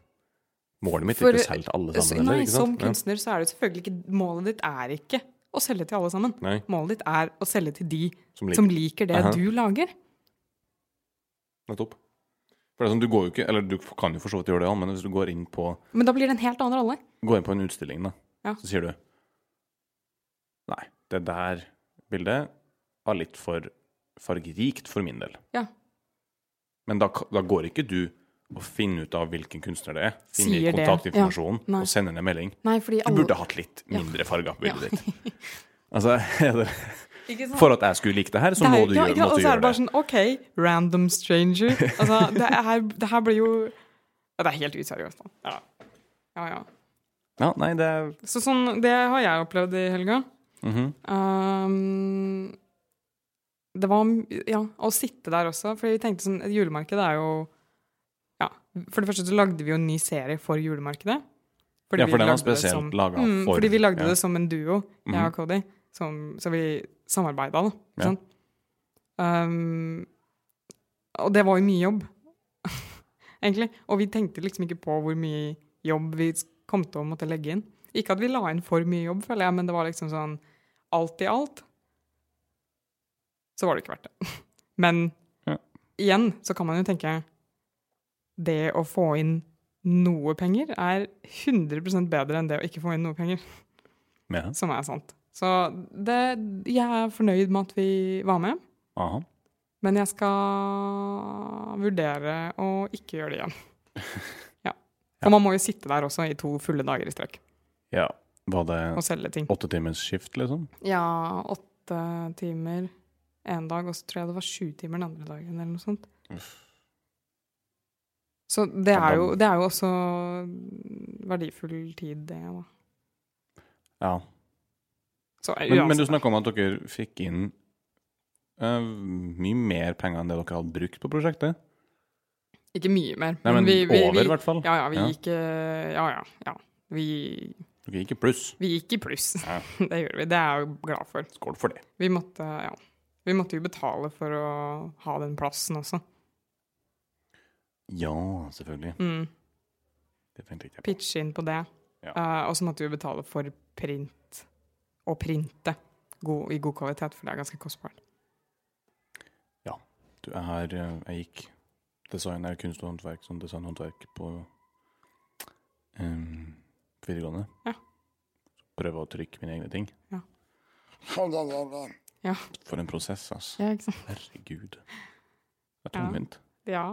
Speaker 2: Målet mitt
Speaker 1: For-
Speaker 2: er ikke å selge til alle
Speaker 1: så,
Speaker 2: sammen.
Speaker 1: nei,
Speaker 2: heller, ikke
Speaker 1: som
Speaker 2: sant?
Speaker 1: kunstner så er det selvfølgelig ikke Målet ditt er ikke å selge til alle sammen.
Speaker 2: Nei.
Speaker 1: Målet ditt er å selge til de
Speaker 2: Ja, som liker.
Speaker 1: som liker det
Speaker 2: Aha.
Speaker 1: du lager.
Speaker 2: Nettopp. For det er sånn, du går jo ikke, eller du kan jo for så vidt gjøre det, ja, men hvis du går inn på
Speaker 1: Men da blir det en helt annen rolle.
Speaker 2: Gå inn på en utstilling, da.
Speaker 1: Ja.
Speaker 2: Så sier du Nei, det der bildet var litt for fargerikt for min del.
Speaker 1: Ja.
Speaker 2: Men da, ka- da går ikke du og finner ut av hvilken kunstner det er. Finner
Speaker 1: Sier det,
Speaker 2: kontaktinformasjonen
Speaker 1: ja. Nei.
Speaker 2: og sender ned melding.
Speaker 1: Nei, fordi
Speaker 2: Du
Speaker 1: alle
Speaker 2: burde hatt litt mindre farger på bildet ditt. Altså, er det,
Speaker 1: Ikke sant?
Speaker 2: for at jeg skulle like det her, så
Speaker 1: Det er-
Speaker 2: må du
Speaker 1: ja,
Speaker 2: gjøre,
Speaker 1: ikke sant?
Speaker 2: måtte
Speaker 1: Og så er
Speaker 2: gjøre
Speaker 1: det bare
Speaker 2: det.
Speaker 1: sånn OK, random stranger. Altså, det her, det her blir jo ja, Det er helt useriøst. da. Ja. ja, ja. sånn-
Speaker 2: Ja, nei, det er
Speaker 1: Så sånn, det har jeg opplevd i helga.
Speaker 2: mhm.
Speaker 1: Um, det var Ja, å sitte der også. For vi tenkte sånn et Julemarked er jo Ja. For det første så lagde vi jo en ny serie for julemarkedet. Fordi
Speaker 2: Ja,
Speaker 1: vi
Speaker 2: for den var
Speaker 1: lagde det
Speaker 2: spesielt
Speaker 1: som-
Speaker 2: laget
Speaker 1: mm,
Speaker 2: for-
Speaker 1: Fordi vi lagde
Speaker 2: ja. Mhm.
Speaker 1: det som en duo, jeg og Cody. Som, så vi samarbeida, da. Ikke
Speaker 2: Ja.
Speaker 1: sant? Um, og det var jo mye jobb, egentlig. Og vi tenkte liksom ikke på hvor mye jobb vi kom til å måtte legge inn. Ikke at vi la inn for mye jobb, føler jeg, men det var liksom sånn alt i alt så var det ikke verdt det. Men
Speaker 2: Ja.
Speaker 1: igjen så kan man jo tenke det å få inn noe penger er 100 bedre enn det å ikke få inn noe penger,
Speaker 2: Ja.
Speaker 1: som er sant. Så det, jeg er fornøyd med at vi var med,
Speaker 2: Aha.
Speaker 1: men jeg skal vurdere å ikke gjøre det igjen. Ja. For man må jo sitte der også i to fulle dager i strekk
Speaker 2: Ja. Var det
Speaker 1: og selge ting.
Speaker 2: åtte timers skift, liksom?
Speaker 1: Ja, åtte timer en dag, og så tror jeg det var sju timer den andre dagen, eller noe sånt. Så det
Speaker 2: Ja, da-
Speaker 1: er, jo, det er jo også verdifull tid, det, da.
Speaker 2: Ja.
Speaker 1: Så
Speaker 2: Men, men du
Speaker 1: uansett.
Speaker 2: snakka om at dere fikk inn eh, mye mer penger enn det dere hadde brukt på prosjektet?
Speaker 1: Ikke mye mer.
Speaker 2: Nei, men
Speaker 1: vi, vi,
Speaker 2: over, i
Speaker 1: vi,
Speaker 2: hvert fall.
Speaker 1: ja, ja, vi
Speaker 2: Ja.
Speaker 1: gikk eh, Ja, ja. ja. Vi,
Speaker 2: Dere gikk i pluss.
Speaker 1: vi gikk i pluss.
Speaker 2: Ja.
Speaker 1: det gjorde vi. Det er jeg jo glad for.
Speaker 2: Skål for det.
Speaker 1: Vi måtte, ja. vi måtte jo betale for å ha den plassen også.
Speaker 2: Ja, selvfølgelig.
Speaker 1: Mm.
Speaker 2: Det tenkte jeg ikke på.
Speaker 1: pitche inn på det.
Speaker 2: Ja.
Speaker 1: Eh, og så måtte vi betale for print, å printe god, i god kvalitet, for det er ganske kostbart.
Speaker 2: Du, jeg, har, eh, jeg gikk design er kunst og håndverk som designhåndverk på em, videregående.
Speaker 1: Ja.
Speaker 2: Prøve å trykke mine egne ting.
Speaker 1: Ja. Ja.
Speaker 2: For en prosess, altså.
Speaker 1: Ja, ikke sant?
Speaker 2: Herregud.
Speaker 1: Ja.
Speaker 2: Det er tungvint.
Speaker 1: Ja.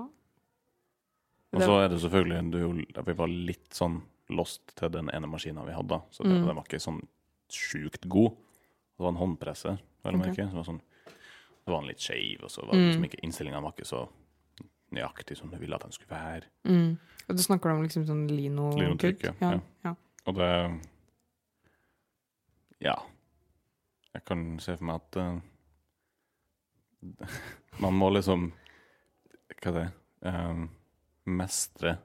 Speaker 2: Og så er det selvfølgelig en duell der vi var litt sånn lost til den ene maskina vi hadde. da. Så det,
Speaker 1: Mm.
Speaker 2: den var ikke sånn sjukt god. Det var en håndpresse, vel å
Speaker 1: Ok. Mm.
Speaker 2: merke. som var Sånn, det var en litt skeiv, og så var det liksom ikke innstillinga var ikke så nøyaktig som du ville at den skulle være.
Speaker 1: Mm. Og du snakker om liksom sånn lino-kuk?
Speaker 2: Linotrykk, ja.
Speaker 1: Ja.
Speaker 2: Ja.
Speaker 1: ja.
Speaker 2: Og det Ja. Jeg kan se for meg at eh, man må liksom Hva er det Eh, Mestre.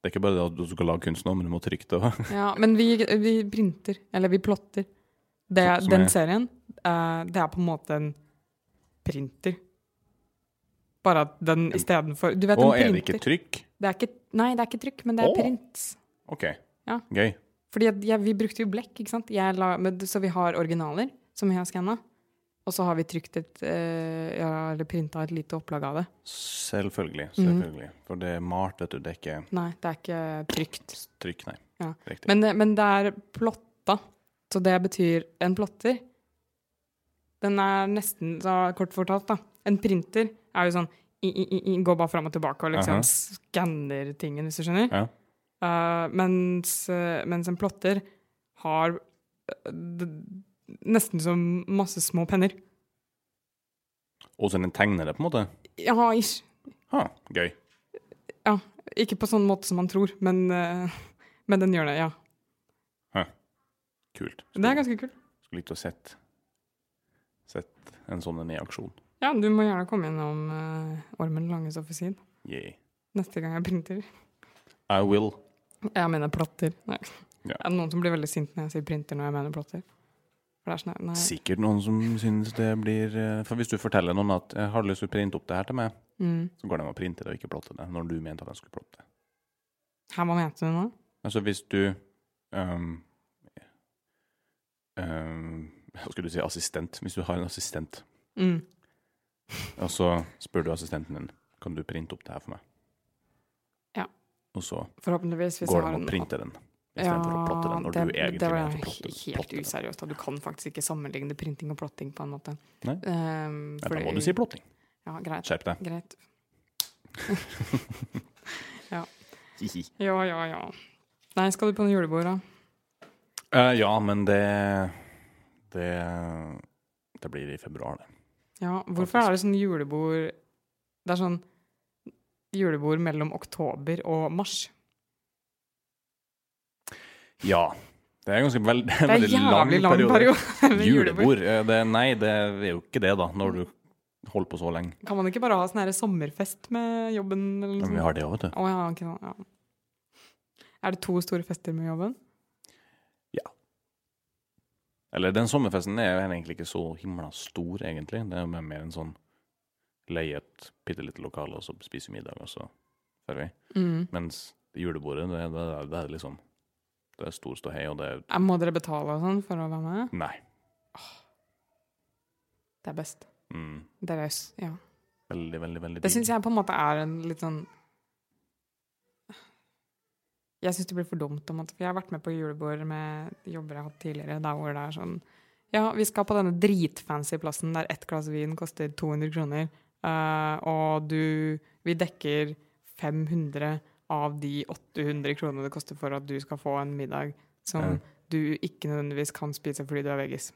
Speaker 2: Det er ikke bare det at du skal lage kunst nå, men du må trykke det òg.
Speaker 1: ja, men vi, vi printer, eller vi plotter. Det,
Speaker 2: Som- som
Speaker 1: den
Speaker 2: er-
Speaker 1: serien, eh, det er på en måte en printer. Bare at den istedenfor Du vet,
Speaker 2: Og er
Speaker 1: en
Speaker 2: det ikke
Speaker 1: printer
Speaker 2: trykk?
Speaker 1: det er ikke, Nei, det er ikke trykk, men det er
Speaker 2: Å.
Speaker 1: print.
Speaker 2: OK.
Speaker 1: Ja.
Speaker 2: Gøy.
Speaker 1: Fordi at jeg, vi brukte jo blekk, ikke sant? Jeg la, men, så vi har originaler som jeg har skanna. Og så har vi trykt et, eh, ja, eller printa et lite opplag av det. Mhm.
Speaker 2: Selvfølgelig. selvfølgelig. For det er malt, vet du. Det er ikke
Speaker 1: Nei, det er ikke trygt.
Speaker 2: trykk, nei.
Speaker 1: Ja.
Speaker 2: Riktig.
Speaker 1: Men, eh, men det er plotta. Så det betyr en plotter. Den er nesten, så kort fortalt, da. En printer er jo sånn i, i, i, i, Går bare fram og tilbake og liksom
Speaker 2: Aha.
Speaker 1: skanner tingen, hvis du skjønner.
Speaker 2: ja.
Speaker 1: Eh, mens, eh, mens en plotter har eh, d- nesten som masse små penner.
Speaker 2: Og så den tegner det, på en måte.
Speaker 1: Ja, ish.
Speaker 2: Ha, gøy.
Speaker 1: Ikke på sånn måte som man tror, men, eh, men den gjør det, ja.
Speaker 2: Kult.
Speaker 1: Det er ganske kult.
Speaker 2: Skulle likt å sett, sett en sånn en i aksjon.
Speaker 1: Ja, du må gjerne komme innom eh, Ormen Langes offisin
Speaker 2: Yeah.
Speaker 1: neste gang jeg printer.
Speaker 2: I will.
Speaker 1: Jeg mener plotter. Nei.
Speaker 2: Ja.
Speaker 1: Er det noen som blir veldig sint når jeg sier printer når jeg mener plotter? For det er sånn, her, nei.
Speaker 2: Sikkert noen som syns det blir eh, For hvis du forteller noen at jeg har lyst til å printe opp det her til meg,
Speaker 1: Mm.
Speaker 2: så går de og printer det og ikke plotter det, når du mente at de skulle plotte det.
Speaker 1: Her, hva mente du nå?
Speaker 2: Altså hvis du ehm, ehm, Hva skulle du si assistent? Hvis du har en assistent,
Speaker 1: Mm.
Speaker 2: og så spør du assistenten din kan du printe opp det her for meg,
Speaker 1: Ja.
Speaker 2: og så
Speaker 1: Forhåpentligvis. Hvis
Speaker 2: går
Speaker 1: jeg
Speaker 2: de
Speaker 1: har
Speaker 2: og
Speaker 1: en
Speaker 2: printer den istedenfor å plotte den når
Speaker 1: det,
Speaker 2: du egentlig
Speaker 1: det var
Speaker 2: mente å
Speaker 1: he-
Speaker 2: plotte-
Speaker 1: helt
Speaker 2: plotte den.
Speaker 1: useriøst. Da. Du kan faktisk ikke sammenligne printing og plotting på en måte.
Speaker 2: Nei.
Speaker 1: Ehm,
Speaker 2: Ja, Da
Speaker 1: fordi-
Speaker 2: må du si plotting.
Speaker 1: Ja, greit.
Speaker 2: Skjerp deg.
Speaker 1: Greit. Ja, ja, ja. Nei, skal du på noen julebord, da?
Speaker 2: Eh, ja, men det Det Det blir i februar, det.
Speaker 1: Ja, hvorfor
Speaker 2: Faktisk.
Speaker 1: er det sånn julebord Det er sånn julebord mellom oktober og mars.
Speaker 2: Ja. Det er ganske veld,
Speaker 1: Det er
Speaker 2: veldig
Speaker 1: jævlig lang periode. med
Speaker 2: Julebord? eh, Det, nei, det er jo ikke det, da, når du holder på så lenge.
Speaker 1: Kan man ikke bare ha sånn her sommerfest med jobben? Eller noe
Speaker 2: Men vi
Speaker 1: sånt?
Speaker 2: har det òg, vet du.
Speaker 1: Å, ja, ok, ja. Er det to store fester med jobben?
Speaker 2: Eller den sommerfesten er jo egentlig ikke så himla stor, egentlig. Det er jo mer- mer en sånn leie et bitte lite lokale, og så spise middag, og så drar vi.
Speaker 1: Mm.
Speaker 2: Mens julebordet, det, det, det, det er liksom Det er stor ståhei, og det er
Speaker 1: Eh, Må dere betale og sånn for å være med?
Speaker 2: Nei.
Speaker 1: Det er best.
Speaker 2: Mm,
Speaker 1: Det er raus. Ja.
Speaker 2: veldig, veldig, veldig
Speaker 1: Det syns jeg på en måte er en litt sånn Jeg syns det blir for dumt. Om at, for jeg har vært med på julebord med jobber jeg har hatt tidligere, der hvor det er sånn Ja, vi skal på denne dritfancy plassen der ett glass vin koster 200 kroner, eh, og du Vi dekker 500 av de 800 kronene det koster for at du skal få en middag som
Speaker 2: Ja.
Speaker 1: du ikke nødvendigvis kan spise fordi du er veggis.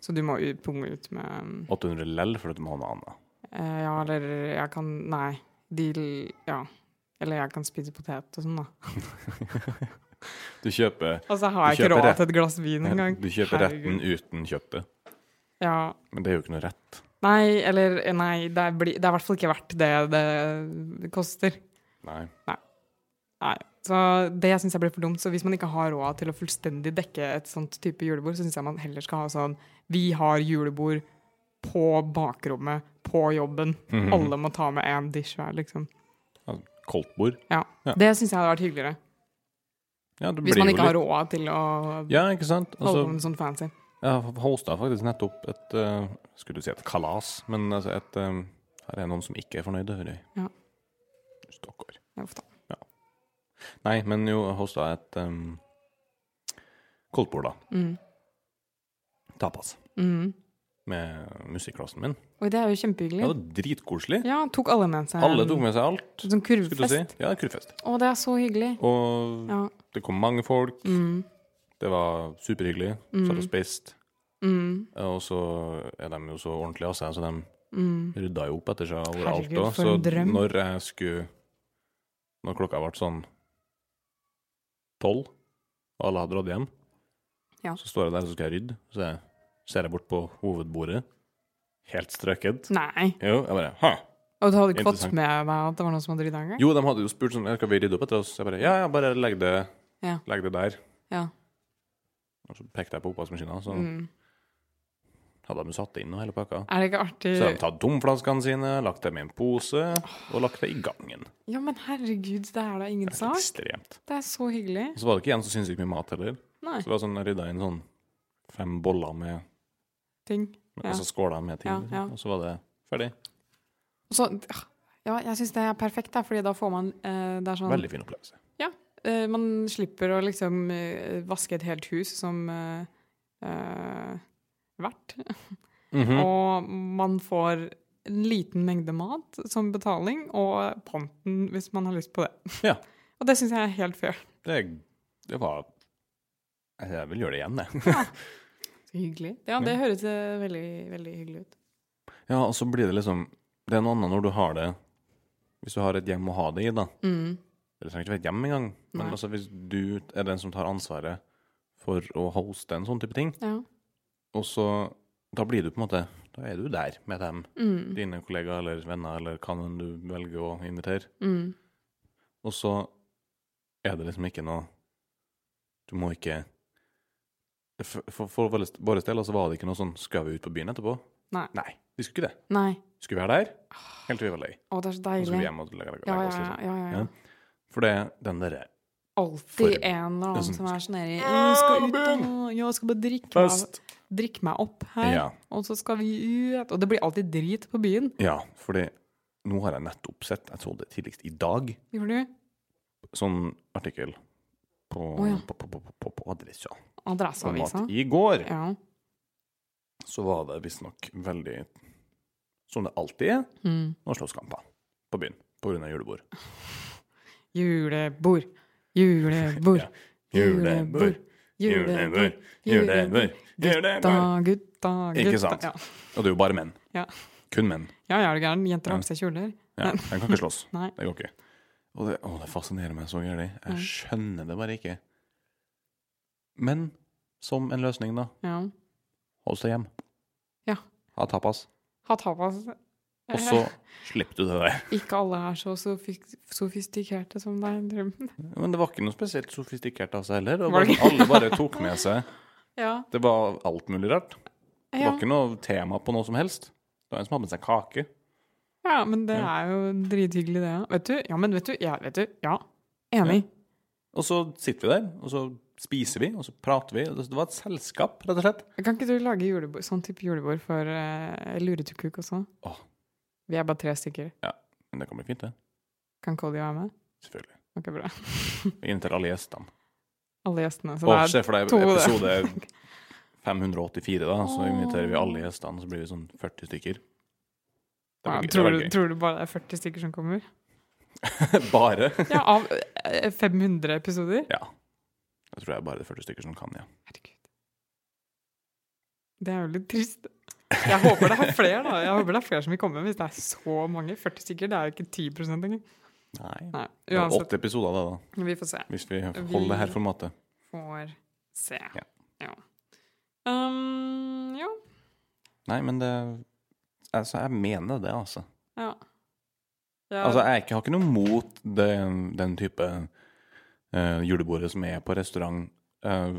Speaker 1: Så du må ut- punge ut med um,
Speaker 2: 800 lell for at du må ha noe annet.
Speaker 1: Eh, ja, eller jeg kan Nei. De l- Ja. Eller jeg kan spise potet og sånn, da.
Speaker 2: Du kjøper,
Speaker 1: Og så har
Speaker 2: Du
Speaker 1: jeg ikke
Speaker 2: kjøper
Speaker 1: råd
Speaker 2: rett-
Speaker 1: til et glass vin engang.
Speaker 2: du kjøper retten
Speaker 1: Herregud.
Speaker 2: uten kjøttet.
Speaker 1: Ja.
Speaker 2: Men det er jo ikke noe rett.
Speaker 1: Nei, eller eh, Nei, det er, bli, det er i hvert fall ikke verdt det det koster.
Speaker 2: Nei.
Speaker 1: Så det syns jeg blir for dumt. Så hvis man ikke har råd til å fullstendig dekke et sånt type julebord, så syns jeg man heller skal ha sånn Vi har julebord på bakrommet, på jobben.
Speaker 2: Mm.
Speaker 1: Alle må ta med én dish hver, liksom.
Speaker 2: Koldtbord. Ja.
Speaker 1: Det syns jeg hadde vært hyggeligere.
Speaker 2: Ja, det
Speaker 1: Hvis
Speaker 2: blir
Speaker 1: man
Speaker 2: jo
Speaker 1: ikke har
Speaker 2: litt-
Speaker 1: råd til å
Speaker 2: Ja, ikke sant?
Speaker 1: holde på
Speaker 2: Altså,
Speaker 1: med sånn fancy.
Speaker 2: jeg hosta faktisk nettopp et eh, Skulle du si et kalas, men altså et eh, Her er noen som ikke er fornøyde, hører jeg.
Speaker 1: Ja.
Speaker 2: Stakkar.
Speaker 1: Ja, uff da.
Speaker 2: Nei, men jo, jeg hosta et um, koldtbord, da.
Speaker 1: Mm.
Speaker 2: Tapas.
Speaker 1: Mm.
Speaker 2: Med musikklassen min.
Speaker 1: Oi, det er jo
Speaker 2: Ja,
Speaker 1: kjempehyggelig.
Speaker 2: det var dritkoselig.
Speaker 1: Ja, tok alle med seg
Speaker 2: Alle tok med seg alt.
Speaker 1: en sånn
Speaker 2: Skulle du si?
Speaker 1: kurvfest?
Speaker 2: Ja, kurvfest.
Speaker 1: Å, det er så hyggelig.
Speaker 2: Og
Speaker 1: Ja.
Speaker 2: det kom mange folk.
Speaker 1: Mm.
Speaker 2: Det var superhyggelig. Satt og spiste.
Speaker 1: Mm.
Speaker 2: Og så er de jo så ordentlige av seg, så de
Speaker 1: Mm.
Speaker 2: rydda jo opp etter seg overalt.
Speaker 1: Herregud,
Speaker 2: da.
Speaker 1: for
Speaker 2: så
Speaker 1: en drøm.
Speaker 2: når jeg skulle Når klokka ble sånn tolv, og alle hadde dratt hjem,
Speaker 1: Ja.
Speaker 2: så står jeg der og så skal jeg rydde. Så jeg, ser jeg bort på hovedbordet, helt strøket.
Speaker 1: Nei.
Speaker 2: Jo, jeg bare Hæ?
Speaker 1: Og du hadde ikke fått
Speaker 2: Interessant.
Speaker 1: med deg at det var noen som hadde rydda engang?
Speaker 2: Jo, de hadde jo spurt sånn «Ja, Skal vi rydde opp etter oss? Jeg bare Ja, ja, bare legg det,
Speaker 1: Ja.
Speaker 2: legg det der.
Speaker 1: Ja.
Speaker 2: Og så pekte jeg på oppvaskmaskina, så
Speaker 1: Mm.
Speaker 2: hadde de jo satt inn og hele pakka.
Speaker 1: Er det ikke artig
Speaker 2: Så hadde de tatt tomflaskene sine, lagt dem i en pose og lagt det i gangen.
Speaker 1: Ja, men herregud, det er da ingen sak.
Speaker 2: Ekstremt.
Speaker 1: Det er så hyggelig.
Speaker 2: Og så var det ikke igjen så sinnssykt mye mat heller.
Speaker 1: Nei.
Speaker 2: Så det var sånn, jeg rydda inn sånn fem boller med
Speaker 1: Ting.
Speaker 2: med-
Speaker 1: Ja.
Speaker 2: Altså skåla med ting,
Speaker 1: Ja,
Speaker 2: liksom.
Speaker 1: ja.
Speaker 2: og så var det ferdig.
Speaker 1: Og så ah, Ja, jeg syns det er perfekt, da, fordi da får man eh, Det er sånn
Speaker 2: Veldig fin opplevelse.
Speaker 1: Eh, man slipper å liksom eh, vaske et helt hus som eh, eh, vert. Mhm.
Speaker 2: Mhm.
Speaker 1: Og man får en liten mengde mat som betaling, og panten hvis man har lyst på det.
Speaker 2: Ja.
Speaker 1: Og det syns jeg er helt fair.
Speaker 2: Det, det var altså, Jeg vil gjøre det igjen, jeg.
Speaker 1: Så hyggelig. Ja, det
Speaker 2: Ja.
Speaker 1: høres eh, veldig, veldig hyggelig ut.
Speaker 2: Ja, og så blir det liksom Det er noe annet når du har det Hvis du har et hjem å ha det i, da.
Speaker 1: Mm.
Speaker 2: Det trenger ikke være et hjem engang. Men
Speaker 1: Nei.
Speaker 2: altså, hvis du er den som tar ansvaret for å hoste en sånn type ting,
Speaker 1: Ja.
Speaker 2: og så Da blir du på en måte Da er du der med dem.
Speaker 1: Mm.
Speaker 2: Dine kollegaer eller venner eller hva enn du velger å
Speaker 1: Mm.
Speaker 2: invitere. Og så er det liksom ikke noe Du må ikke For, for, for våre- våre deler så var det ikke noe sånn Skal vi ut på byen etterpå?
Speaker 1: Nei.
Speaker 2: Vi skulle ikke det.
Speaker 1: Nei.
Speaker 2: Skulle vi være der? Helt til vi var lei.
Speaker 1: Å, det er så
Speaker 2: Så skulle
Speaker 1: deilig.
Speaker 2: vi hjem og legge, legge
Speaker 1: Ja, ja,
Speaker 2: oss,
Speaker 1: ja.
Speaker 2: liksom.
Speaker 1: ja, ja.
Speaker 2: Ja. For det, den derre For-
Speaker 1: Alltid en eller
Speaker 2: Ja,
Speaker 1: annen
Speaker 2: sånn-
Speaker 1: som er sånn nedi Jeg skal ut og ja, jeg skal bare drikke meg,
Speaker 2: Fest!
Speaker 1: drikke meg opp her,
Speaker 2: Ja.
Speaker 1: og så skal vi ut Og det blir alltid drit på byen.
Speaker 2: ja, fordi nå har jeg nettopp sett, jeg så det tidligst i dag,
Speaker 1: Gjorde du?
Speaker 2: sånn artikkel på,
Speaker 1: Å, ja.
Speaker 2: på, på, på, på, på Adressa om
Speaker 1: Adresseavisa.
Speaker 2: at i går
Speaker 1: Ja.
Speaker 2: så var det visstnok veldig Som det alltid er
Speaker 1: Mm.
Speaker 2: noen slåsskamper på byen på grunn av julebord.
Speaker 1: Julebord. Julebord.
Speaker 2: Ja. Julebord, julebord, julebord,
Speaker 1: Gutta,
Speaker 2: julebord.
Speaker 1: gutta, gutta.
Speaker 2: Ikke sant?
Speaker 1: Ja,
Speaker 2: Og det er jo bare menn.
Speaker 1: Ja.
Speaker 2: Kun menn.
Speaker 1: ja, ja er du gæren? Jenter har på seg kjoler.
Speaker 2: Ja, de kan ikke slåss.
Speaker 1: Nei.
Speaker 2: Det går ikke. Og det, å, det fascinerer meg så gærent.
Speaker 1: Mm.
Speaker 2: Jeg skjønner det bare ikke. Men som en løsning, da.
Speaker 1: Ja.
Speaker 2: Hold deg hjem.
Speaker 1: Ja.
Speaker 2: Ha tapas.
Speaker 1: Ha tapas.
Speaker 2: Og så slipper du det der.
Speaker 1: Eh, Ikke alle er så sofik- sofistikerte som deg. Drømmen.
Speaker 2: Men det var ikke noe spesielt sofistikert av seg heller. Det
Speaker 1: Var
Speaker 2: var
Speaker 1: det
Speaker 2: alle bare tok med seg
Speaker 1: Ja.
Speaker 2: Det var alt mulig rart. Det
Speaker 1: Ja.
Speaker 2: var ikke noe tema på noe som helst. Det var en som hadde med seg kake.
Speaker 1: ja, men det er jo drithyggelig, det. Ja. Vet du? Ja, men vet du? Ja, vet du? Ja. Enig.
Speaker 2: Og så sitter vi der, og så spiser vi, og så prater vi. Det var et selskap, rett og slett.
Speaker 1: Kan ikke du lage julebord, sånn type julebord for uh, Luretukuk også?
Speaker 2: Åh.
Speaker 1: Vi er bare tre stykker.
Speaker 2: Men det kan bli fint, det.
Speaker 1: Kan Cody være med?
Speaker 2: Selvfølgelig.
Speaker 1: Ok, bra.
Speaker 2: Vi inviterer alle gjestene.
Speaker 1: Alle gjestene. Så
Speaker 2: Å,
Speaker 1: det
Speaker 2: se for deg
Speaker 1: to, det.
Speaker 2: episode 584, da. Så inviterer vi alle gjestene, så blir vi sånn 40 stykker.
Speaker 1: er
Speaker 2: Det
Speaker 1: ja,
Speaker 2: blir gøy.
Speaker 1: tror,
Speaker 2: Det
Speaker 1: du,
Speaker 2: blir
Speaker 1: tror du bare det er 40 stykker som kommer?
Speaker 2: gøy. Bare.
Speaker 1: Ja, av eh, 500 episoder?
Speaker 2: Ja. Jeg tror det er bare de 40 stykker som kan, ja.
Speaker 1: Herregud. Det er jo litt trist. Jeg håper det er flere, da. Jeg håper det er flere som vil komme. Hvis det er så mange. 40 stykker, det er jo ikke 10 engang.
Speaker 2: Nei.
Speaker 1: Nei,
Speaker 2: Det var
Speaker 1: uansett.
Speaker 2: åtte episoder, det, da.
Speaker 1: Vi får se.
Speaker 2: Hvis vi holder det her formatet.
Speaker 1: Får se.
Speaker 2: Ja.
Speaker 1: Ja. Um, jo.
Speaker 2: Nei, men det Altså, jeg mener det, altså.
Speaker 1: Ja. Ja.
Speaker 2: Altså, jeg er ikke, har ikke noe mot det, den type eh, julebordet som er på restaurant. Eh,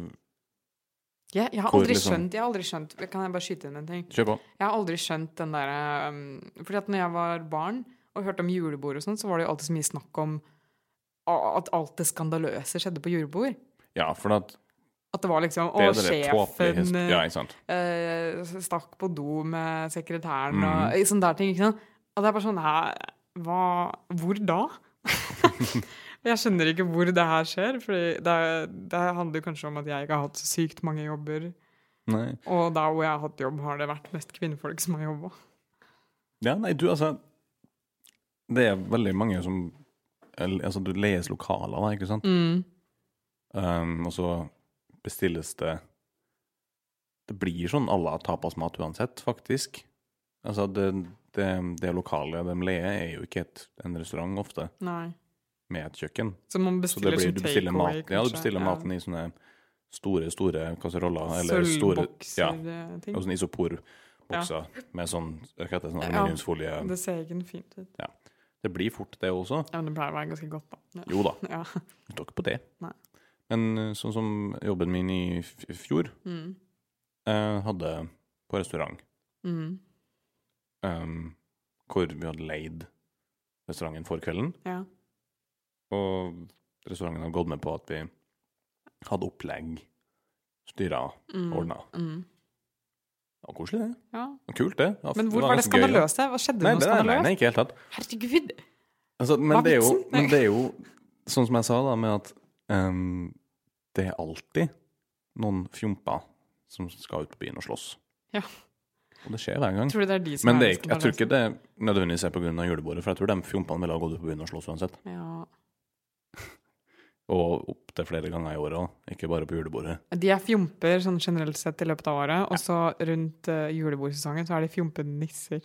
Speaker 1: jeg, jeg har
Speaker 2: hvor
Speaker 1: aldri
Speaker 2: liksom-
Speaker 1: skjønt Jeg har aldri skjønt Kan jeg bare skyte inn en ting?
Speaker 2: kjør på.
Speaker 1: Jeg har aldri skjønt den derre um, Fordi at når jeg var barn og hørte om julebord og sånn, så var det jo alltid så mye snakk om a- at alt det skandaløse skjedde på julebord.
Speaker 2: Ja, for at
Speaker 1: At det var liksom
Speaker 2: det
Speaker 1: Å,
Speaker 2: er det tåpelige
Speaker 1: sjefen
Speaker 2: his- Ja, ikke sant.
Speaker 1: eh, stakk på do med sekretæren
Speaker 2: Mhm.
Speaker 1: og sånne der ting. Ikke sant? Og det er bare sånn Hæ, hva Hvor da? jeg skjønner ikke hvor det her skjer, for det, det handler kanskje om at jeg ikke har hatt så sykt mange jobber.
Speaker 2: Nei.
Speaker 1: Og der hvor jeg har hatt jobb, har det vært mest kvinnfolk som har jobba.
Speaker 2: Ja, nei, du, altså Det er veldig mange som eller, Altså, du leies lokaler, da, ikke sant?
Speaker 1: Mm.
Speaker 2: Um, og så bestilles det Det blir sånn à la tapasmat uansett, faktisk. Altså, det, det, det lokalet de leier, er jo ikke et, en restaurant ofte,
Speaker 1: Nei.
Speaker 2: med et kjøkken.
Speaker 1: Så man
Speaker 2: Så det
Speaker 1: bestiller
Speaker 2: blir,
Speaker 1: som
Speaker 2: du bestiller
Speaker 1: liksom takeaway,
Speaker 2: mat, ja, du
Speaker 1: kanskje.
Speaker 2: bestiller maten i sånne store, store kasseroller, eller store ja, Altså,
Speaker 1: Sølvbokser-ting.
Speaker 2: og sånne isoporbokser med sånn, hva heter det, sånn
Speaker 1: Ja.
Speaker 2: aluminiumsfolie.
Speaker 1: det ser ikke fint ut.
Speaker 2: Det blir fort det også.
Speaker 1: Ja, men det pleier å være ganske godt, da. Ja.
Speaker 2: Jo da,
Speaker 1: Ja.
Speaker 2: det står ikke på det.
Speaker 1: Nei.
Speaker 2: Men eh, sånn som jobben min i f- fjor,
Speaker 1: Mm.
Speaker 2: eh, hadde på restaurant,
Speaker 1: Mm.
Speaker 2: em, hvor vi hadde leid restauranten for kvelden,
Speaker 1: ja.
Speaker 2: og restauranten hadde gått med på at vi hadde opplegg, styret,
Speaker 1: Mm.
Speaker 2: ordnet.
Speaker 1: Mm.
Speaker 2: Det var koselig det.
Speaker 1: ja.
Speaker 2: Det var Kult det. Ja,
Speaker 1: Men hvor
Speaker 2: var
Speaker 1: var det
Speaker 2: ganske gøy, da.
Speaker 1: skandaløse? Hva skjedde
Speaker 2: Nei,
Speaker 1: med noe
Speaker 2: det er, nei,
Speaker 1: skandaløst?
Speaker 2: nei, ikke helt tatt.
Speaker 1: Herregud!
Speaker 2: Altså,
Speaker 1: Hva
Speaker 2: men,
Speaker 1: er
Speaker 2: det er jo,
Speaker 1: vitsen? Nei.
Speaker 2: men det er jo sånn som jeg sa, da, med at ehm, det er alltid noen fjomper som skal ut på byen og slåss.
Speaker 1: Ja.
Speaker 2: Og det skjer hver gang.
Speaker 1: Tror du det er de som
Speaker 2: Men det
Speaker 1: er liksom
Speaker 2: er, ikke- jeg tror ikke det nødvendigvis er pga. julebordet, for jeg tror de fjompene ville ha gått ut på byen og slåss uansett.
Speaker 1: Ja.
Speaker 2: Og opptil flere ganger i året òg, ikke bare på julebordet.
Speaker 1: De er fjomper sånn generelt sett i løpet av året, og så rundt eh, julebordsesongen så er de fjompenisser.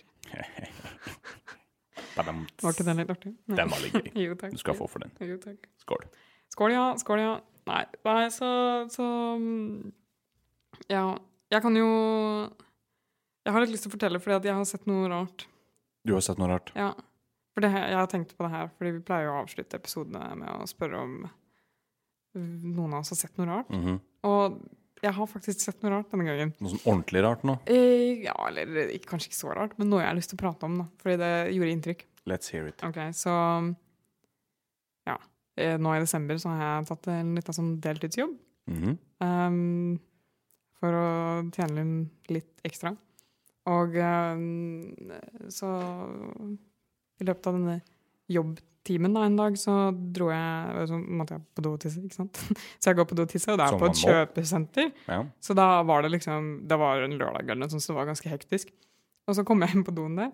Speaker 2: Badam.
Speaker 1: Var ikke den litt artig? Nei.
Speaker 2: Den var litt gøy.
Speaker 1: Jo, takk.
Speaker 2: Du skal få for den.
Speaker 1: Jo, takk.
Speaker 2: Skål.
Speaker 1: Skål, ja. Skål, ja. Nei, nei så, så mm, Ja. Jeg kan jo Jeg har litt lyst til å fortelle, fordi at jeg har sett noe rart.
Speaker 2: Du har sett noe rart?
Speaker 1: Ja. For det, her- jeg har tenkt på det her, fordi vi pleier jo å avslutte episodene med å spørre om noen av oss har sett noe rart.
Speaker 2: Mhm.
Speaker 1: Og jeg har faktisk sett noe rart denne gangen.
Speaker 2: Noe sånn ordentlig rart nå.
Speaker 1: Eh, ja, eller ikke- kanskje ikke så rart, men noe jeg har lyst til å prate om, da. Fordi det gjorde inntrykk.
Speaker 2: Let's hear it.
Speaker 1: Ok, så ja. Eh, Nå i desember så har jeg tatt en liten sånn deltidsjobb
Speaker 2: Mhm.
Speaker 1: ehm, for å tjene inn litt ekstra. Og ehm, så i løpet av denne jobbtimen da, en dag så dro jeg Så måtte jeg på do og tisse, ikke sant? Så jeg går på do og tisser, og det
Speaker 2: Som
Speaker 1: er på
Speaker 2: man
Speaker 1: et
Speaker 2: må.
Speaker 1: kjøpesenter.
Speaker 2: Ja.
Speaker 1: Så da var det liksom Det var en lørdag eller noe sånt, så det var ganske hektisk. Og så kom jeg inn på doen der.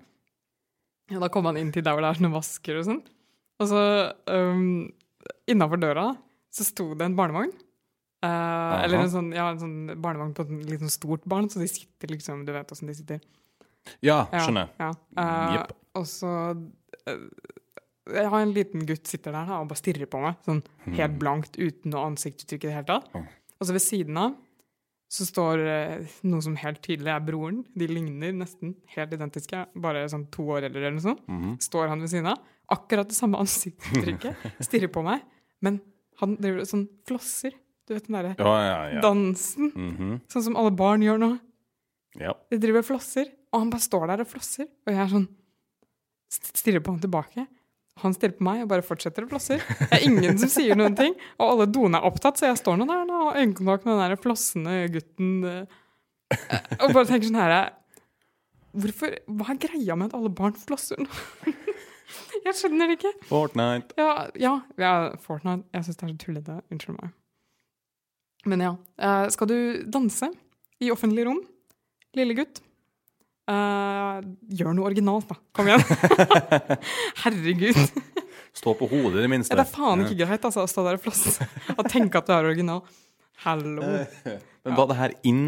Speaker 1: Og da kom han inn til der hvor det er noen vasker og sånn. Og så um, innafor døra så sto det en barnevogn. Eh, eller en sånn, ja, en sånn barnevogn på et litt sånn stort barn, så de sitter liksom Du vet åssen de sitter.
Speaker 2: ja,
Speaker 1: Ja,
Speaker 2: skjønner.
Speaker 1: Ja. Eh,
Speaker 2: Jepp.
Speaker 1: Og så eh, Jeg har en liten gutt sitter der da, og bare stirrer på meg, sånn helt
Speaker 2: Mhm.
Speaker 1: blankt, uten noe ansiktsuttrykk i det hele tatt.
Speaker 2: Mm.
Speaker 1: Og så ved siden av så står eh, noe som helt tydelig er broren. De ligner nesten helt identiske, bare sånn to år eldre eller noe sånt.
Speaker 2: Mhm.
Speaker 1: Står han ved siden av. Akkurat det samme ansiktsuttrykket. Stirrer på meg. Men han driver og sånn flosser. Du vet den derre
Speaker 2: Ja, ja, ja.
Speaker 1: dansen.
Speaker 2: Mhm.
Speaker 1: Sånn som alle barn gjør nå.
Speaker 2: ja.
Speaker 1: De driver og flosser, og han bare står der og flosser. Og jeg er sånn st- Stirrer på han tilbake. Han stirrer på meg og bare fortsetter å flosse. Det er ingen som sier noen ting. Og alle doene er opptatt, så jeg står nå der nå, og øyekontakt med den der flossende gutten. eh, Og bare tenker sånn her Hvorfor, Hva er greia med at alle barn flosser nå? Jeg skjønner det ikke.
Speaker 2: Fortnite.
Speaker 1: Ja, ja, ja Fortnite. Jeg syns det er så tullete. Unnskyld meg. Men ja. eh, skal du danse i offentlig rom, lille gutt? Eh, gjør noe originalt, da. Kom igjen. Herregud.
Speaker 2: Stå på hodet, i det minste.
Speaker 1: Ja, det er faen ikke greit altså, å stå der og flosse og tenke at du er original. Hallo.
Speaker 2: Eh. Men var det her inn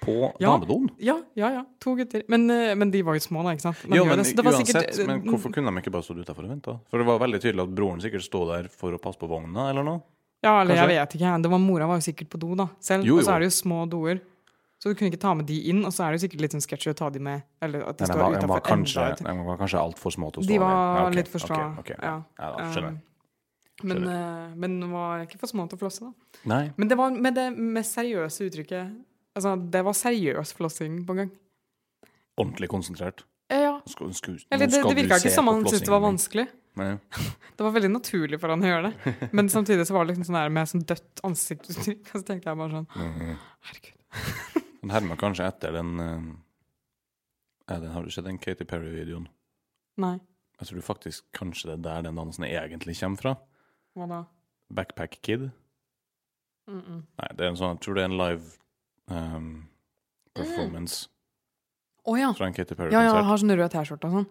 Speaker 2: på
Speaker 1: Ja.
Speaker 2: damedoen?
Speaker 1: Ja, ja, ja. To gutter. Men, eh, men de var jo små, da, ikke sant? Man
Speaker 2: Jo,
Speaker 1: gjør
Speaker 2: men
Speaker 1: det, så det var
Speaker 2: uansett,
Speaker 1: sikkert- mm.
Speaker 2: men hvorfor kunne de ikke bare stått utafor og venta? For det var veldig tydelig at broren sikkert sto der for å passe på vogna, eller noe.
Speaker 1: Ja, eller jeg
Speaker 2: Kanskje?
Speaker 1: vet ikke. Det var, mora var jo sikkert på do da, selv.
Speaker 2: Jo,
Speaker 1: Og så
Speaker 2: jo.
Speaker 1: er det jo små doer. Så du kunne ikke ta med de inn, og så er det jo sikkert litt sånn sketchy å ta de med. Eller at de
Speaker 2: Nei, de
Speaker 1: står
Speaker 2: var, de var
Speaker 1: utenfor
Speaker 2: kanskje,
Speaker 1: enda.
Speaker 2: de var kanskje altfor små til å
Speaker 1: et-
Speaker 2: stå
Speaker 1: De
Speaker 2: der.
Speaker 1: var
Speaker 2: Ja, ok,
Speaker 1: litt for små.
Speaker 2: ok, ok.
Speaker 1: Ja. Um,
Speaker 2: Ja, da, skjønner. jeg.
Speaker 1: Men, eh, men de var ikke for små til å flosse, da.
Speaker 2: Nei.
Speaker 1: Men det var med det mest seriøse uttrykket Altså, det var seriøs flossing på gang.
Speaker 2: Ordentlig konsentrert.
Speaker 1: Eh, Ja.
Speaker 2: Skal, skal, nå
Speaker 1: Eller det,
Speaker 2: skal
Speaker 1: det
Speaker 2: du
Speaker 1: virka
Speaker 2: se
Speaker 1: ikke som
Speaker 2: på
Speaker 1: han syntes det var
Speaker 2: flossingen min.
Speaker 1: vanskelig.
Speaker 2: Nei.
Speaker 1: Det var veldig naturlig for han å gjøre det. Men samtidig så var det liksom sånn der med sånn dødt ansiktsuttrykk. Og så tenkte jeg bare sånn
Speaker 2: Mhm.
Speaker 1: Herregud.
Speaker 2: Den hermer kanskje etter den eh, ja, den Har du sett den Katy Perry-videoen?
Speaker 1: Nei.
Speaker 2: Jeg tror faktisk kanskje det er der den dansen egentlig kommer fra.
Speaker 1: Hva da?
Speaker 2: Backpack Kid.
Speaker 1: Mm -mm.
Speaker 2: Nei, det er en sånn, jeg tror det er en live ehm, performance
Speaker 1: Å ja.
Speaker 2: fra en Katy
Speaker 1: Ja, ja, han
Speaker 2: Perry-konsert.
Speaker 1: har sånn rød T-skjorte og sånn.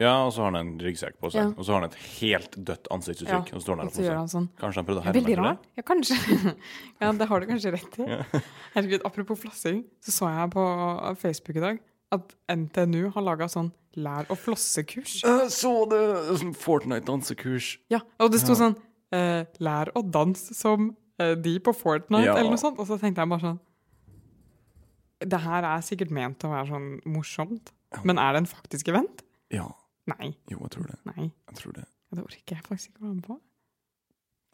Speaker 2: Ja, og så har han en ryggsekk på seg,
Speaker 1: Ja.
Speaker 2: og så har han et helt dødt ansiktsuttrykk.
Speaker 1: Ja,
Speaker 2: Og så står han
Speaker 1: Og
Speaker 2: der og
Speaker 1: så gjør
Speaker 2: poser.
Speaker 1: han sånn.
Speaker 2: Kanskje han prøvde å
Speaker 1: Det er veldig
Speaker 2: herme etter det?
Speaker 1: rar. Ja, kanskje. ja, det har du kanskje rett i. Herregud, apropos flossing, så så jeg på Facebook i dag at NTNU har laga sånn lær å flosse-kurs.
Speaker 2: Jeg Eh, så det! Sånn Fortnite-dansekurs.
Speaker 1: Ja, og det sto sånn eh, lær å danse som eh, de på Fortnite,
Speaker 2: Ja.
Speaker 1: eller noe sånt. Og så tenkte jeg bare sånn Det her er sikkert ment å være sånn morsomt, men er det en faktisk event?
Speaker 2: Ja.
Speaker 1: Nei.
Speaker 2: Jo, jeg tror det.
Speaker 1: Nei.
Speaker 2: Jeg tror det.
Speaker 1: Det orker jeg faktisk ikke å være med på.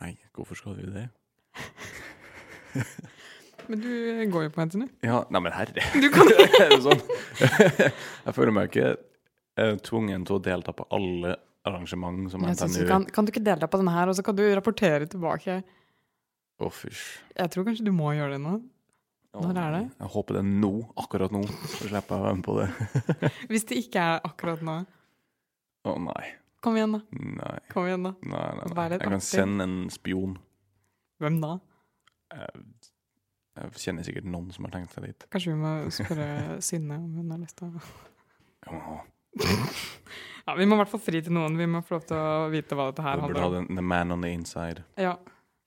Speaker 2: Nei, hvorfor skal vi det?
Speaker 1: Men du eh, går jo på NTNU.
Speaker 2: Ja, nei, men herre.
Speaker 1: Du kan
Speaker 2: er det sånn? Jeg føler meg ikke eh, tvungen til å delta på alle arrangement som
Speaker 1: Jeg synes
Speaker 2: NTNU
Speaker 1: du kan, kan du ikke delta på denne her, og så kan du rapportere tilbake?
Speaker 2: Å, fysj.
Speaker 1: Jeg tror kanskje du må gjøre det nå. Når er det?
Speaker 2: Jeg håper det er nå. Akkurat nå. Så slipper jeg å være med på det.
Speaker 1: Hvis det ikke er akkurat nå.
Speaker 2: Å nei.
Speaker 1: Kom igjen, da.
Speaker 2: Nei.
Speaker 1: Kom igjen da.
Speaker 2: Nei, nei, nei.
Speaker 1: Vær litt
Speaker 2: Jeg kan
Speaker 1: aktiv.
Speaker 2: sende en spion.
Speaker 1: Hvem da?
Speaker 2: Jeg, jeg kjenner sikkert noen som har tenkt seg dit.
Speaker 1: Kanskje vi må spørre Synne om hun har lyst til å
Speaker 2: Ja,
Speaker 1: Ja, Vi må i hvert fall fri til noen. Vi må få lov til å vite hva dette her
Speaker 2: Du burde ha
Speaker 1: handler om.
Speaker 2: den The Man on the Inside.
Speaker 1: Ja.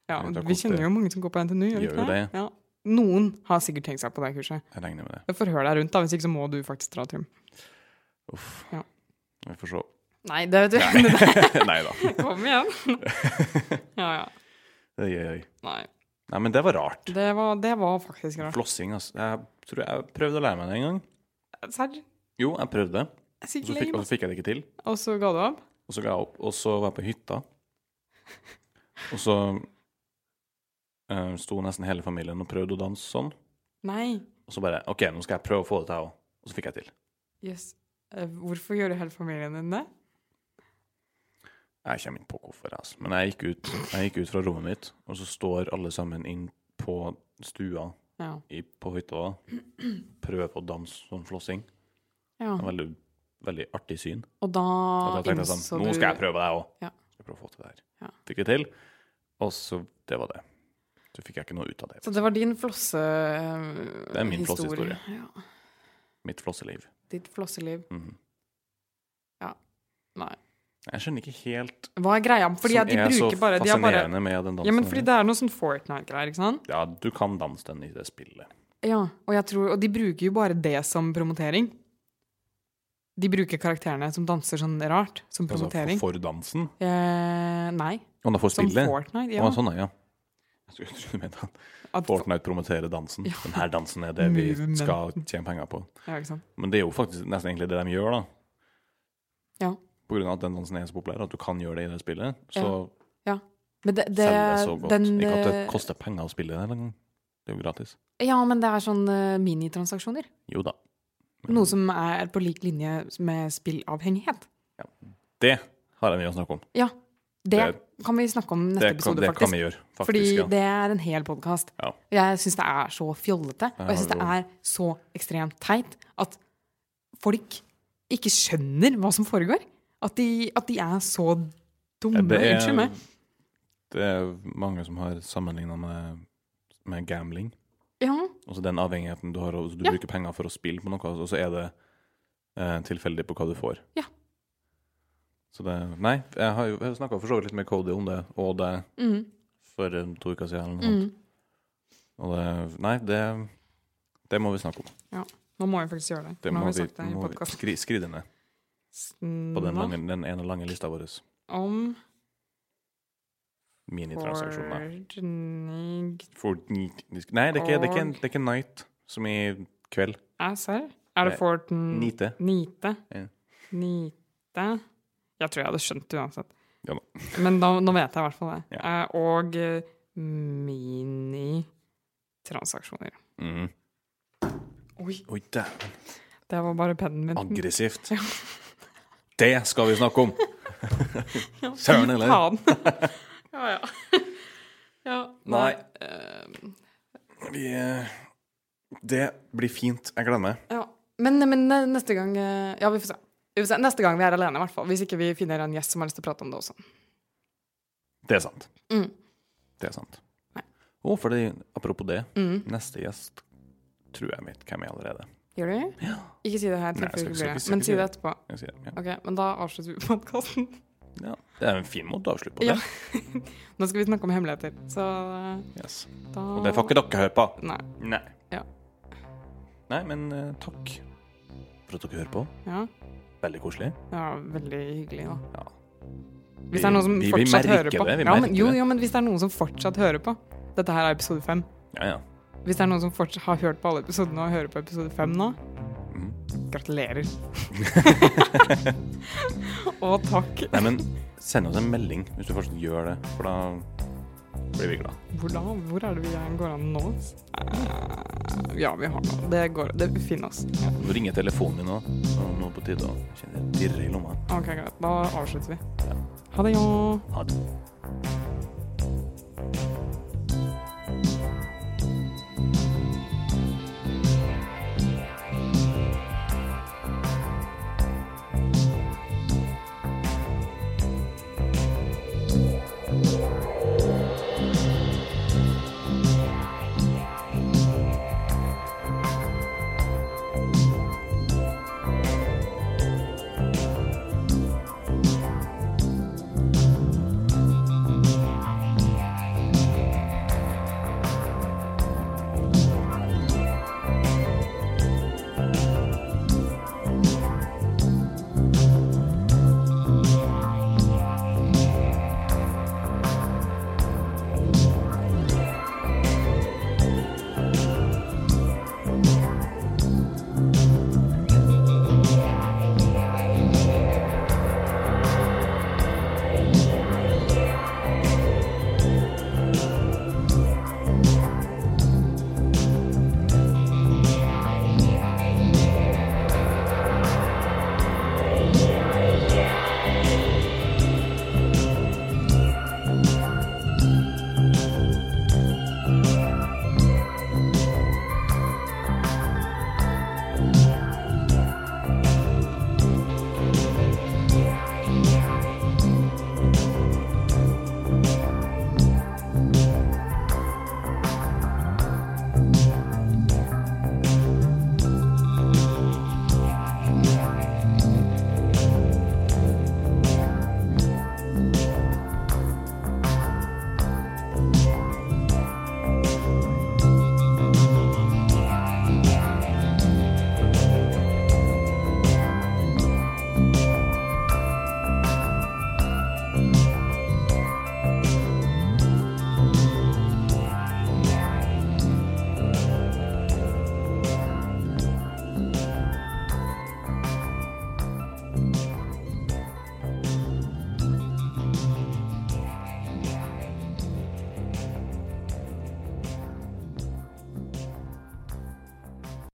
Speaker 1: Ja, vi
Speaker 2: Jeg vet da hvordan det-
Speaker 1: kjenner jo mange som går på NTNU. gjør vi
Speaker 2: Gjør
Speaker 1: ikke
Speaker 2: jo det.
Speaker 1: Ja. Noen har sikkert tenkt seg på det kurset.
Speaker 2: Jeg regner med det.
Speaker 1: Forhør deg rundt, da. Hvis ikke så må du faktisk dra, Trym.
Speaker 2: Uff.
Speaker 1: Ja.
Speaker 2: Vi får se.
Speaker 1: Nei, det vet du.
Speaker 2: Nei da.
Speaker 1: Kom igjen. Ja, ja.
Speaker 2: Oi, oi, oi.
Speaker 1: Nei.
Speaker 2: Nei, men det var rart.
Speaker 1: Det var, det var faktisk rart.
Speaker 2: Flossing, altså. Jeg tror jeg prøvde å lære meg det en gang.
Speaker 1: Serr?
Speaker 2: Jo, jeg prøvde det.
Speaker 1: Jeg er
Speaker 2: Og så
Speaker 1: sikkert
Speaker 2: fikk,
Speaker 1: lame.
Speaker 2: og så fikk jeg det ikke til.
Speaker 1: Og så ga du opp?
Speaker 2: Og så ga jeg opp. Og så var jeg på hytta. Og så eh, sto nesten hele familien og prøvde å danse sånn.
Speaker 1: Nei.
Speaker 2: Og så bare OK, nå skal jeg prøve å få det til, jeg òg. Og så fikk jeg til.
Speaker 1: Yes. Eh, Hvorfor gjorde hele familien din det?
Speaker 2: Jeg kommer ikke på hvorfor, altså. Men jeg gikk, ut, jeg gikk ut fra rommet mitt, og så står alle sammen inn på stua
Speaker 1: Ja.
Speaker 2: i, på hytta da. Prøver på å danse sånn flossing.
Speaker 1: ja.
Speaker 2: Det var Veldig, veldig artig syn.
Speaker 1: Og da,
Speaker 2: Og da tenkte jeg
Speaker 1: innså
Speaker 2: sånn Nå skal jeg prøve det, jeg òg.
Speaker 1: Ja.
Speaker 2: Skal prøve å få til det her.
Speaker 1: Ja.
Speaker 2: Fikk det til. Og så Det var det. Så fikk jeg ikke noe ut av det.
Speaker 1: Så det var din flosse... Det
Speaker 2: er min flossehistorie.
Speaker 1: Ja.
Speaker 2: Mitt flosseliv.
Speaker 1: Ditt flosseliv.
Speaker 2: Mhm.
Speaker 1: Nei.
Speaker 2: Jeg skjønner ikke helt
Speaker 1: Hva er greia? Fordi
Speaker 2: som
Speaker 1: at de
Speaker 2: er så
Speaker 1: bruker bare de har bare,
Speaker 2: fascinerende med den dansen.
Speaker 1: Ja, men fordi det er noe sånn Fortnite-greier, ikke sant?
Speaker 2: Ja, du kan danse den i det spillet.
Speaker 1: Ja, og, jeg tror, og de bruker jo bare det som promotering. De bruker karakterene som danser sånn rart, som
Speaker 2: Altså for,
Speaker 1: promotering.
Speaker 2: for dansen.
Speaker 1: eh, nei,
Speaker 2: Og da for
Speaker 1: som
Speaker 2: spillet.
Speaker 1: Fortnite.
Speaker 2: Å,
Speaker 1: Ja.
Speaker 2: sånn, ja. Jeg skulle- jeg skulle mene at
Speaker 1: At,
Speaker 2: Fortnite promoterer dansen. Den her dansen er det vi
Speaker 1: Movement.
Speaker 2: skal tjene penger på.
Speaker 1: ja, ikke sant?
Speaker 2: Men det er jo faktisk nesten egentlig det de gjør, da.
Speaker 1: Ja.
Speaker 2: På grunn av at den dansen er så populær at du kan gjøre det i det spillet. Så
Speaker 1: Men det, det,
Speaker 2: selger det så godt.
Speaker 1: den,
Speaker 2: Ikke at det
Speaker 1: eh,
Speaker 2: koster penger å spille det engang. Det er jo gratis.
Speaker 1: Ja, men det er sånn eh, minitransaksjoner.
Speaker 2: Jo da. Men
Speaker 1: Noe som er på lik linje med spillavhengighet.
Speaker 2: det har jeg mye å snakke om.
Speaker 1: Ja, det, kan vi snakke om neste
Speaker 2: det, kan,
Speaker 1: episode,
Speaker 2: det
Speaker 1: faktisk.
Speaker 2: kan vi gjøre, faktisk.
Speaker 1: Fordi
Speaker 2: ja.
Speaker 1: det er en hel podkast.
Speaker 2: Ja.
Speaker 1: Jeg syns det er så fjollete, og jeg syns det er så ekstremt teit at folk ikke skjønner hva som foregår. At de, at de er så dumme.
Speaker 2: Det er-
Speaker 1: Unnskyld meg.
Speaker 2: Det er mange som har sammenligna med, med gambling.
Speaker 1: Ja,
Speaker 2: Altså den avhengigheten du har, og du
Speaker 1: Ja.
Speaker 2: bruker penger for å spille på noe, og så er det eh, tilfeldig på hva du får.
Speaker 1: Ja.
Speaker 2: Så det Nei, jeg har jo snakka for så vidt litt med Cody om det, og det
Speaker 1: mm,
Speaker 2: for eh, to uker siden, eller noe
Speaker 1: mm.
Speaker 2: sånt. Og det Nei, det, det må vi snakke om.
Speaker 1: Nå må vi faktisk gjøre det.
Speaker 2: Det
Speaker 1: Nå
Speaker 2: må
Speaker 1: har vi
Speaker 2: vi,
Speaker 1: sagt det i
Speaker 2: må vi
Speaker 1: podkasten.
Speaker 2: skri, skri det ned på den, lange, den ene lange lista vår.
Speaker 1: Om
Speaker 2: Minitransaksjoner.
Speaker 1: Fortnite
Speaker 2: For, nei, det er, ikke, det, er ikke, det er ikke night som i kveld.
Speaker 1: Serr? Er det
Speaker 2: Nei,
Speaker 1: Fortnite?
Speaker 2: Eh, Nite.
Speaker 1: Nite.
Speaker 2: Ja.
Speaker 1: Nite Jeg tror jeg hadde skjønt det uansett.
Speaker 2: Ja da.
Speaker 1: Men da, nå vet jeg i hvert fall det.
Speaker 2: Ja.
Speaker 1: Eh, og eh, minitransaksjoner.
Speaker 2: Mm.
Speaker 1: Oi,
Speaker 2: Oi, dæven.
Speaker 1: det var bare pennen min.
Speaker 2: Aggressivt. Det skal vi snakke om!
Speaker 1: Ja,
Speaker 2: Søren, eller?
Speaker 1: faen. ja, ja. ja.
Speaker 2: Nei.
Speaker 1: eh,
Speaker 2: Vi, eh, det blir fint. Jeg gleder meg.
Speaker 1: ja. Men, men eh, neste gang eh, Ja, vi får se. Vi får se. Neste gang vi er alene, i hvert fall. Hvis ikke vi finner en gjest som har lyst til å prate om det også.
Speaker 2: Det er sant.
Speaker 1: Mm.
Speaker 2: Det er sant.
Speaker 1: Nei.
Speaker 2: Og fordi, apropos det,
Speaker 1: Mm.
Speaker 2: neste gjest tror jeg vet hvem er allerede.
Speaker 1: Gjør du?
Speaker 2: Ja.
Speaker 1: Ikke si det her,
Speaker 2: Nei, jeg skal
Speaker 1: tilfelle
Speaker 2: ikke-
Speaker 1: det blir
Speaker 2: skal ikke
Speaker 1: det.
Speaker 2: si-
Speaker 1: Men
Speaker 2: ikke
Speaker 1: si
Speaker 2: si
Speaker 1: det
Speaker 2: det.
Speaker 1: etterpå.
Speaker 2: Jeg sier, ja.
Speaker 1: Ok, men da avslutter vi podkasten.
Speaker 2: Ja. Det er en fin måte å avslutte på det.
Speaker 1: Nå skal vi snakke om hemmeligheter, så eh,
Speaker 2: Yes.
Speaker 1: da
Speaker 2: Og det får ikke dere høre på.
Speaker 1: Nei.
Speaker 2: Nei.
Speaker 1: Ja.
Speaker 2: Nei, men eh, takk for at dere hører på.
Speaker 1: Ja.
Speaker 2: Veldig koselig.
Speaker 1: Det var veldig hyggelig, da.
Speaker 2: Ja.
Speaker 1: Hvis det er noen som
Speaker 2: Vi- vi- vi
Speaker 1: fortsatt
Speaker 2: merker
Speaker 1: hører på.
Speaker 2: det, vi
Speaker 1: ja, men,
Speaker 2: merker
Speaker 1: jo,
Speaker 2: det.
Speaker 1: jo, men hvis det er noen som fortsatt hører på Dette her er episode fem.
Speaker 2: Ja, ja.
Speaker 1: Hvis det er noen som fortsatt har hørt på alle episodene og hører på episode fem nå,
Speaker 2: Mhm.
Speaker 1: gratulerer. og takk.
Speaker 2: Nei, men send oss en melding hvis du fortsatt gjør det, for da blir vi glad.
Speaker 1: Hvor, da, hvor er det vi er- går an nå? Eh, Ja, vi har noe. Det går Det finner oss. Ja.
Speaker 2: Nå ringer telefonen din òg, og nå er det på tide å kjenne det dirre i lomma.
Speaker 1: OK, greit. Da avslutter vi.
Speaker 2: Ja.
Speaker 1: Ha det, jo.
Speaker 2: Ha det.